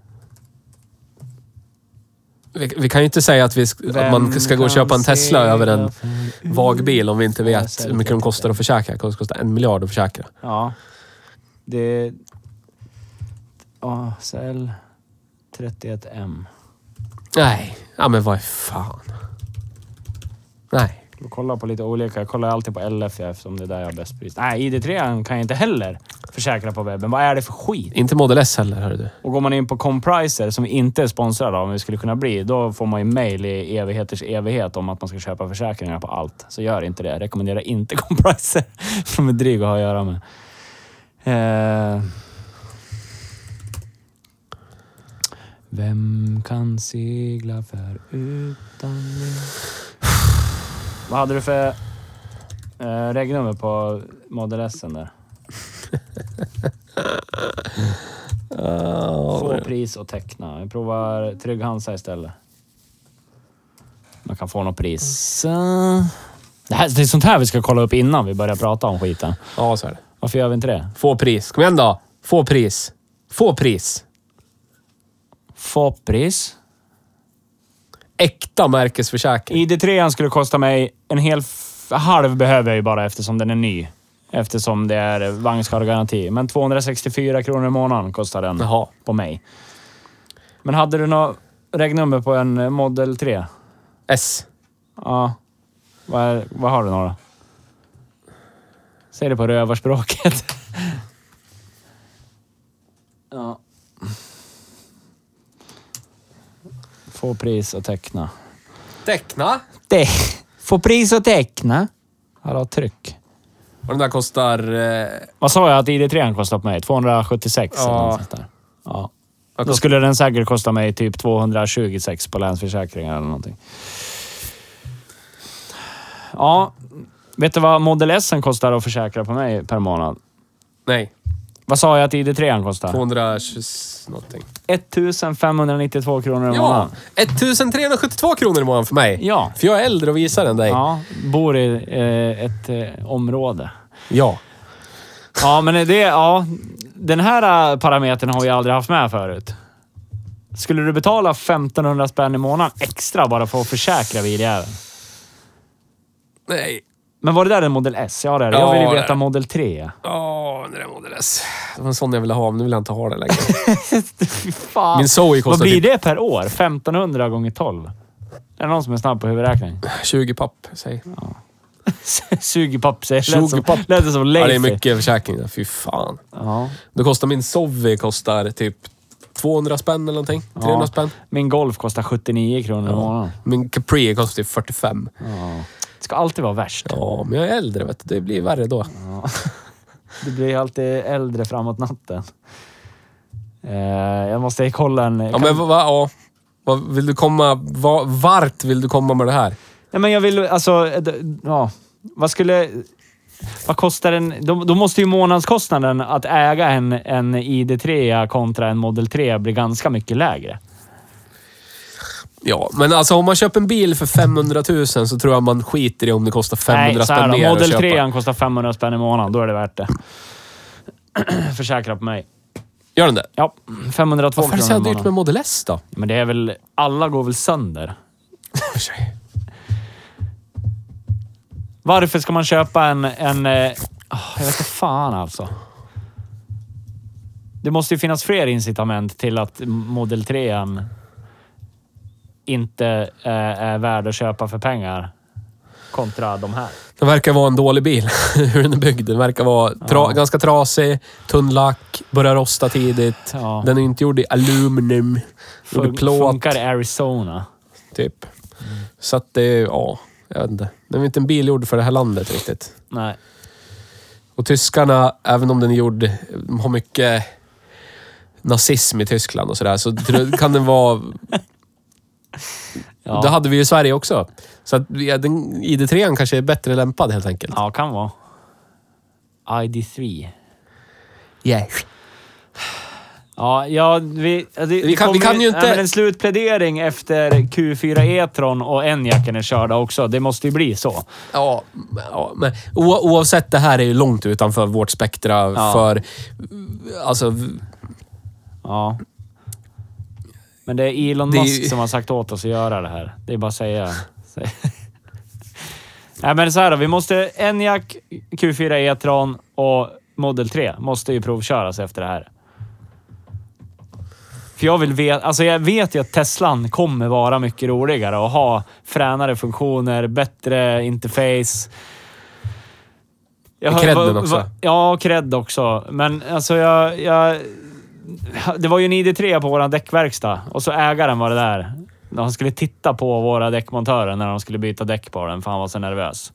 Vi, vi kan ju inte säga att, vi, sk- att man ska gå och köpa en Tesla över en vagbil om vi inte vet hur mycket de kostar att försäkra. Det kostar en miljard att försäkra.
Ja. Det... ASL 31M.
Nej, ja men vad fan. Nej.
Jag kollar på lite olika. Jag kollar alltid på LF eftersom det är där jag har bäst pris. Nej, ID3 kan jag inte heller försäkra på webben. Vad är det för skit?
Inte Model S heller, hörru du.
Och går man in på Compricer, som vi inte är sponsrade av, men vi skulle kunna bli, då får man ju mejl i evigheters evighet om att man ska köpa försäkringar på allt. Så gör inte det. Jag rekommenderar inte Compricer. De är dryga att ha att göra med. Eh. Vem kan segla för utan mig? Vad hade du för eh, regnummer på Model S där? Få pris och teckna. Vi provar Trygg Hansa istället. Man kan få något pris. Eh, Det, här, det är sånt här vi ska kolla upp innan vi börjar prata om skiten.
Ja, så är det.
Varför gör vi inte det?
Få pris. Kom igen då. Få pris. Få pris.
Få pris.
Äkta märkesförsäkring.
ID3 skulle kosta mig en hel f- halv behöver jag ju bara eftersom den är ny. Eftersom det är vagnskadegaranti. Men 264 kronor i månaden kostar den
Jaha.
på mig. Men hade du något regnummer på en eh, Model 3?
S.
Ja. Vad, är, vad har du några? Säg det på rövarspråket. ja. Få pris och teckna.
Teckna.
Det. Få pris och teckna. Hallå, tryck.
Och den där kostar... Eh,
Vad sa jag att ID3 kostar på mig? 276 eller
Ja.
något sånt där. Ja.
Vad
Då
kostar-
skulle den säkert kosta mig typ 226 på Länsförsäkringar eller någonting. Ja, vet du vad Model S kostar att försäkra på mig per månad?
Nej,
Vad sa jag att ID3 kostar?
220 någonting.
1592 kronor i
Ja!
månaden.
1372 kronor i månaden för mig.
Ja.
För jag är äldre och visar än dig.
Ja, bor i eh, ett eh, område.
ja.
Ja, men det... Ja, den här eh, parametern har vi aldrig haft med förut. Skulle du betala 1500 spänn i månaden extra bara för att försäkra biljäveln?
Nej.
Men var det där en Model S? Ja, det är det.
Ja,
Jag vill
det
ju
är
veta
det.
Model 3.
Åh, det där Model S. Det var en sån jag ville ha, men nu vill jag inte ha det längre.
Fy fan.
Min Zoe
Vad
kostar
blir
typ
det per år? 1500 gånger 12? Är det någon som är snabb på huvudräkning?
20 papp, säg.
20 papp säger
20
20
papp.
Lät det som
Ja, det
Leify.
är mycket försäkring. där. Fy fan.
Ja.
Då kostar min Zoe kostar typ 200 spänn eller någonting. 300
Ja.
spänn.
Min Golf kostar 79 kronor i månaden.
Min Capri kostar typ 45.
Ja. Det ska alltid vara värst.
Ja, men jag är äldre vet du. Det blir värre då.
Du blir alltid äldre framåt natten. Eh, jag måste kolla en...
Ja, men vad... Va, ja. Vad vill du komma... Va, vart vill du komma med det här?
Nej, men jag vill alltså... eh, d- Ja. Vad skulle... Vad kostar en... Då, då måste ju månadskostnaden att äga en, en ID3 kontra en Model 3 bli ganska mycket lägre.
Ja, men alltså om man köper en bil för 500 000 så tror jag man skiter i om det kostar 500
Nej, så här
spänn
då.
mer
Model
att
3
köpa.
kostar 500 spänn i månaden. Då är det värt det. Försäkra på mig.
Gör den det?
Ja, 502
Varför är det så
kronor i
jävla dyrt med
månaden.
Model S då?
Men det är väl... Alla går väl sönder?
För sig.
Varför ska man köpa en... en eh, ah, jag vet inte fan alltså. Det måste ju finnas fler incitament till att Model 3 inte eh, är värd att köpa för pengar kontra de här.
Den verkar vara en dålig bil, hur den är byggd. Den verkar vara tra ganska trasig, tunn lack, börjar rosta tidigt.
Ja.
Den är inte gjord i aluminium. Gjord i
Fun-
plåt,
Funkar Mm. Arizona?
typ. Så att det är, ja, jag vet inte. Den är inte en bil gjord för det här landet riktigt.
Nej.
Och tyskarna, även om den är gjord, de har mycket nazism i Tyskland och sådär, så tr- kan den vara...
Ja.
Det hade vi ju i Sverige också. Så att ja, den, ID3 kanske är bättre lämpad helt enkelt.
Ja, kan vara. ID3.
Yes.
Ja, ja vi, ja, det, det
kan- vi
kommer
kan ju inte-
Nej, men en slutplädering efter Q4 E-tron och enjacken är körda också. Det måste ju bli så.
Ja, men- ja, men o- oavsett, det här är ju långt utanför vårt spektra
Ja.
för... Alltså, v-
Ja. Men det är Elon
Det är
Musk
ju-
som har sagt åt oss att göra det här. Det är bara att säga. Säg- Nej, men så här då. Vi måste... Enyaq, Q4 E-tron och Model 3 måste ju provköras efter det här. För jag vill veta... Alltså jag vet ju att Teslan kommer vara mycket roligare och ha fränare funktioner, bättre interface. Jag hör-
Credden också.
ja, och cred också. Men alltså jag... jag det var ju en ID3 på våran däckverkstad och så ägaren var det där. Han skulle titta på våra däckmontörer när de skulle byta däck på den för han var så nervös.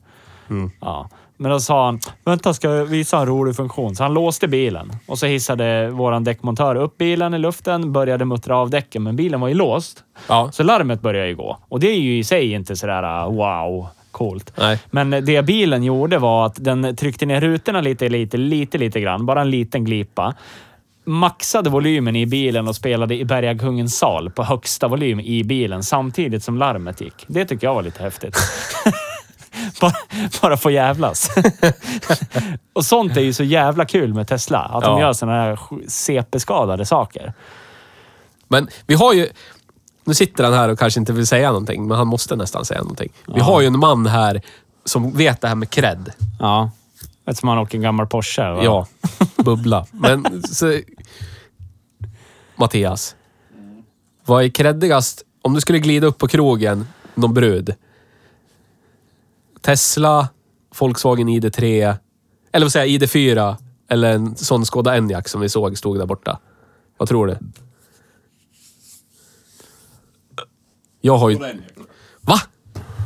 Ja. Men då sa han, vänta ska jag visa en rolig funktion. Så han låste bilen och så hissade våran däckmontör upp bilen i luften, började muttra av däcken, men bilen var ju låst.
ja.
Så larmet började ju gå och det är ju i sig inte sådär uh, wow, coolt.
Nej.
Men det bilen gjorde var att den tryckte ner rutorna lite, lite, lite, lite grann. Bara en liten glipa. Maxade volymen i bilen och spelade i Bergakungens sal på högsta volym i bilen samtidigt som larmet gick. Det tycker jag var lite häftigt. bara, bara få jävlas. och sånt är ju så jävla kul med Tesla. Att de
Ja.
gör såna här sj- CP-skadade saker.
Men vi har ju... Nu sitter han här och kanske inte vill säga någonting, men han måste nästan säga någonting. Vi har ju en man här som vet det här med cred.
Ja. Eftersom han åker en gammal Porsche. Va?
Ja, bubbla. Men så, Mattias, vad är creddigast? Om du skulle glida upp på krogen, någon brud. Tesla, Volkswagen ID3, eller vad säger jag, ID4 eller en sån Skoda Enyaq som vi såg stod där borta. Vad tror du? Jag har ju...
Och den ja.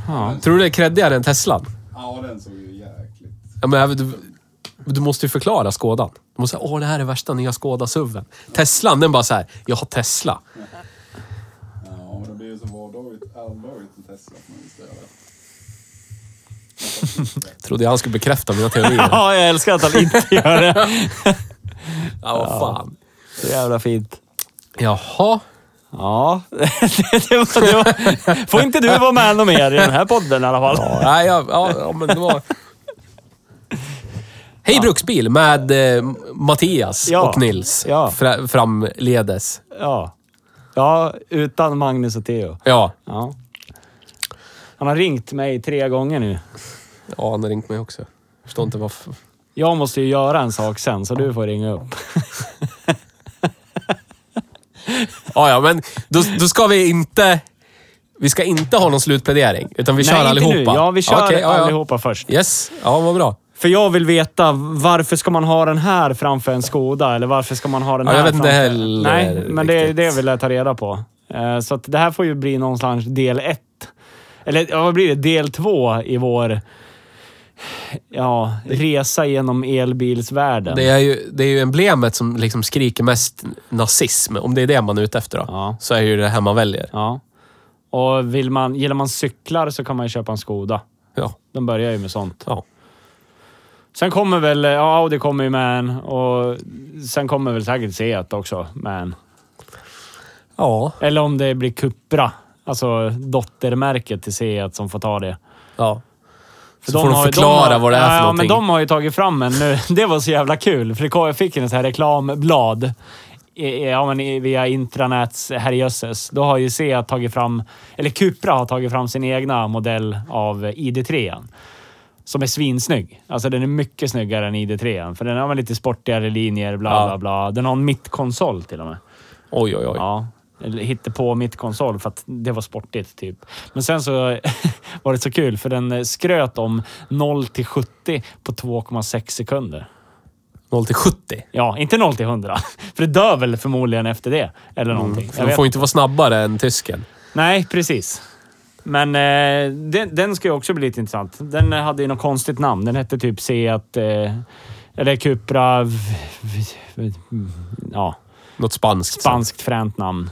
Va? Tror du det är creddigare än Teslan?
Ja, den såg ju jäkligt...
Ja, men, du, du måste ju förklara Skådan. De var såhär, åh det här är värsta nya Skoda-SUVen. Teslan, den bara såhär, jag har Tesla.
Ja, men det blir ju så vardagligt, alldagligt i Tesla att man vill ställa
Trodde jag han skulle bekräfta mina teorier.
Ja, jag älskar att han inte gör det.
ja, vad fan.
Så jävla fint.
Jaha.
Ja, det, det var, det var, får inte du vara med något mer i den här podden i alla fall.
Nej, ja, ja, ja, men det var... Hej Bruksbil med eh, Mattias
Ja.
och Nils
Ja.
fra, framledes.
Ja. ja, utan Magnus och Theo.
Ja.
Ja. Han har ringt mig tre gånger nu.
ja, han har ringt mig också. Jag förstår inte varför.
Jag måste ju göra en sak sen, så du får ringa upp.
Ja, ja, men då, då ska vi inte... Vi ska inte ha någon slutplädering, utan vi kör
Nej,
allihopa.
inte nu. Ja, vi kör
Okej, ja, ja.
allihopa först.
Yes, ja vad bra.
För jag vill veta, varför ska man ha den här framför en Skoda? Eller varför ska man ha den
Ja,
här
jag vet inte
framför...
heller
Nej, men det är
riktigt.
det vill jag ta reda på. Eh, Så att det här får ju bli någonstans del ett. Eller ja, vad blir det? Del två i vår ja, resa genom elbilsvärlden.
Det är, ju, det är ju emblemet som liksom skriker mest nazism, om det är det man är ute efter då.
Ja.
Så är ju det här man väljer.
Ja. Och vill man, gillar man cyklar så kan man ju köpa en Skoda.
Ja.
De börjar ju med sånt.
ja.
Sen kommer väl, ja Audi kommer ju med en och sen kommer väl säkert Seat också med en.
Ja.
Eller om det blir Cupra. Alltså dottermärket till Seat som får ta det.
ja.
För
Så får de
har ju-
förklara
har-
vad det är för
ja,
någonting.
men de har ju tagit fram en nu. Det var så jävla kul, för det kom- jag fick en sån här reklamblad. i- i- Ja, men i- via intranäts herrejösses. Då har ju Seat tagit fram, eller Cupra har tagit fram sin egna modell av ID3. Som är svinsnygg. Alltså den är mycket snyggare än ID3. För den har väl lite sportigare linjer, bla
Ja.
bla bla. Den har en mittkonsol till och med.
Oj, oj, oj.
Ja. Eller hitta på mitt konsol för att det var sportigt typ. Men sen så var det så kul för den eh, skröt om 0 till 70 på 2,6 sekunder.
0 till 70.
Ja, inte 0 till 100. För det dör väl förmodligen efter det. Eller någonting. Jag
Mm, De
vet
får inte vara snabbare än tysken.
Nej, precis. Men eh, den, den ska ju också bli lite intressant. Den eh, hade ju något konstigt namn. Den hette typ Seat... Eh, eller Cupra... v- v- v- Ja.
Något spanskt.
spanskt fränt namn.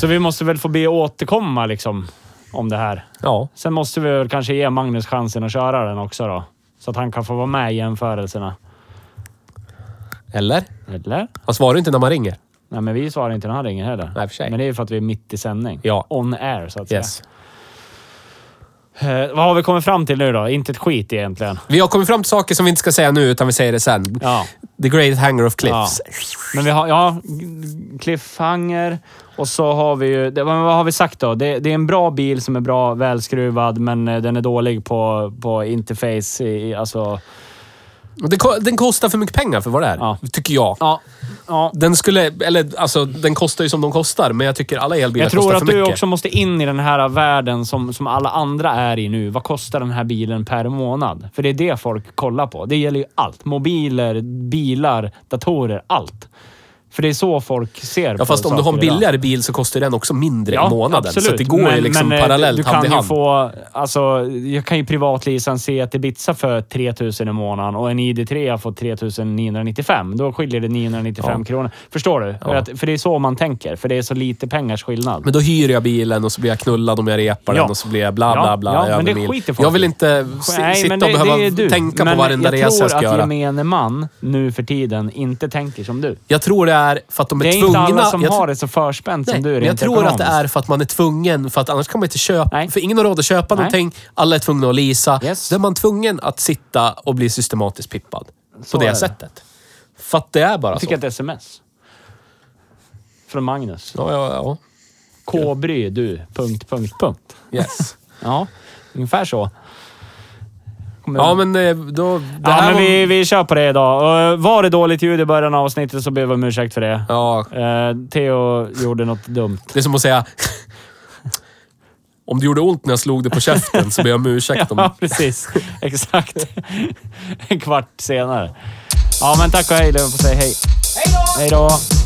Så vi måste väl få be återkomma liksom om det här.
Ja.
Sen måste vi väl kanske ge Magnus chansen att köra den också då. Så att han kan få vara med i jämförelserna.
Eller?
Eller?
Han svarar ju inte när man ringer.
Nej, men vi svarar inte när han ringer heller.
Nej, för sig.
Men det är ju för att vi är mitt i sändning.
Ja.
On air, så att
Yes.
säga. Eh, vad har vi kommit fram till nu då? Inte ett skit egentligen.
Vi har kommit fram till saker som vi inte ska säga nu, utan vi säger det sen.
Ja.
The Great Hanger of Cliffs.
Men vi har, ja, cliffhanger och så har vi ju, det, men vad har vi sagt då? Det, det är en bra bil som är bra välskruvad, men eh, den är dålig på, på interface. I, alltså,
Men Den, ko- den kostar för mycket pengar för vad det är,
Ja.
tycker jag.
ja, ja.
Den skulle... Eller alltså, den kostar ju som de kostar, men jag tycker alla elbilar
Jag tror
kostar för
att du
mycket.
också måste in i den här äh, världen som, som alla andra är i nu. Vad kostar den här bilen per månad? För det är det folk kollar på. Det gäller ju allt. Mobiler, bilar, datorer, allt. För det är så folk ser
Ja,
på
fast om du har en
saker idag.
billigare bil så kostar den också mindre i månaden. Så att det går ju
Men-
liksom
men, eh,
parallellt
du
hand i
kan ju
hand.
få, alltså, Jag kan ju privatleasen se att Ibiza för 3000 i månaden och en ID3 har fått 3995. Då skiljer det 995
Ja.
kronor. Förstår du? För, att, för det är så man tänker. För det är så lite pengars skillnad.
Men då hyr jag bilen och så blir jag knullad om jag repar
Ja.
den och så blir jag bla bla
Ja,
bla.
ja, men det
övermil.
skiter folk
jag vill
i.
inte si-
Nej,
sitta
men
och behöva
är du.
tänka
men
på varenda
jag
resa jag ska
tror att
göra.
gemene man nu för tiden inte tänker som du.
Jag tror det är för att de är,
Det är
tvungna.
inte alla som
jag, tr-
har det så förspänt
Nej,
som du.
men jag
rent
tror att det
ekonomiskt.
är för att man är tvungen, för att annars kan man inte köpa.
Nej.
För ingen har råd att köpa
Nej.
någonting. Alla är tvungna att leasa.
Yes.
Då är man tvungen att sitta och bli systematiskt pippad.
Så
på
är
det
det.
sättet. För att det är bara
Jag
så.
fick ett sms. Från Magnus.
Ja, ja,
K-bry du... Punkt, punkt, punkt.
ja. Yes.
Ja, ungefär så. Kommer-
ja, men eh, då... Det
ja,
här
men
var-
vi, vi kör på det idag. Och, eh, var det dåligt ljud i början av avsnittet så ber vi om ursäkt för det.
Ja,
Eh, Theo gjorde något dumt.
Det är som att säga... Om det gjorde ont när jag slog dig på käften så ber jag om ursäkt. Om...
Ja, precis. Exakt. en kvart senare. Ja, men tack och hej. Du får säga hej. Hej då! Hej då!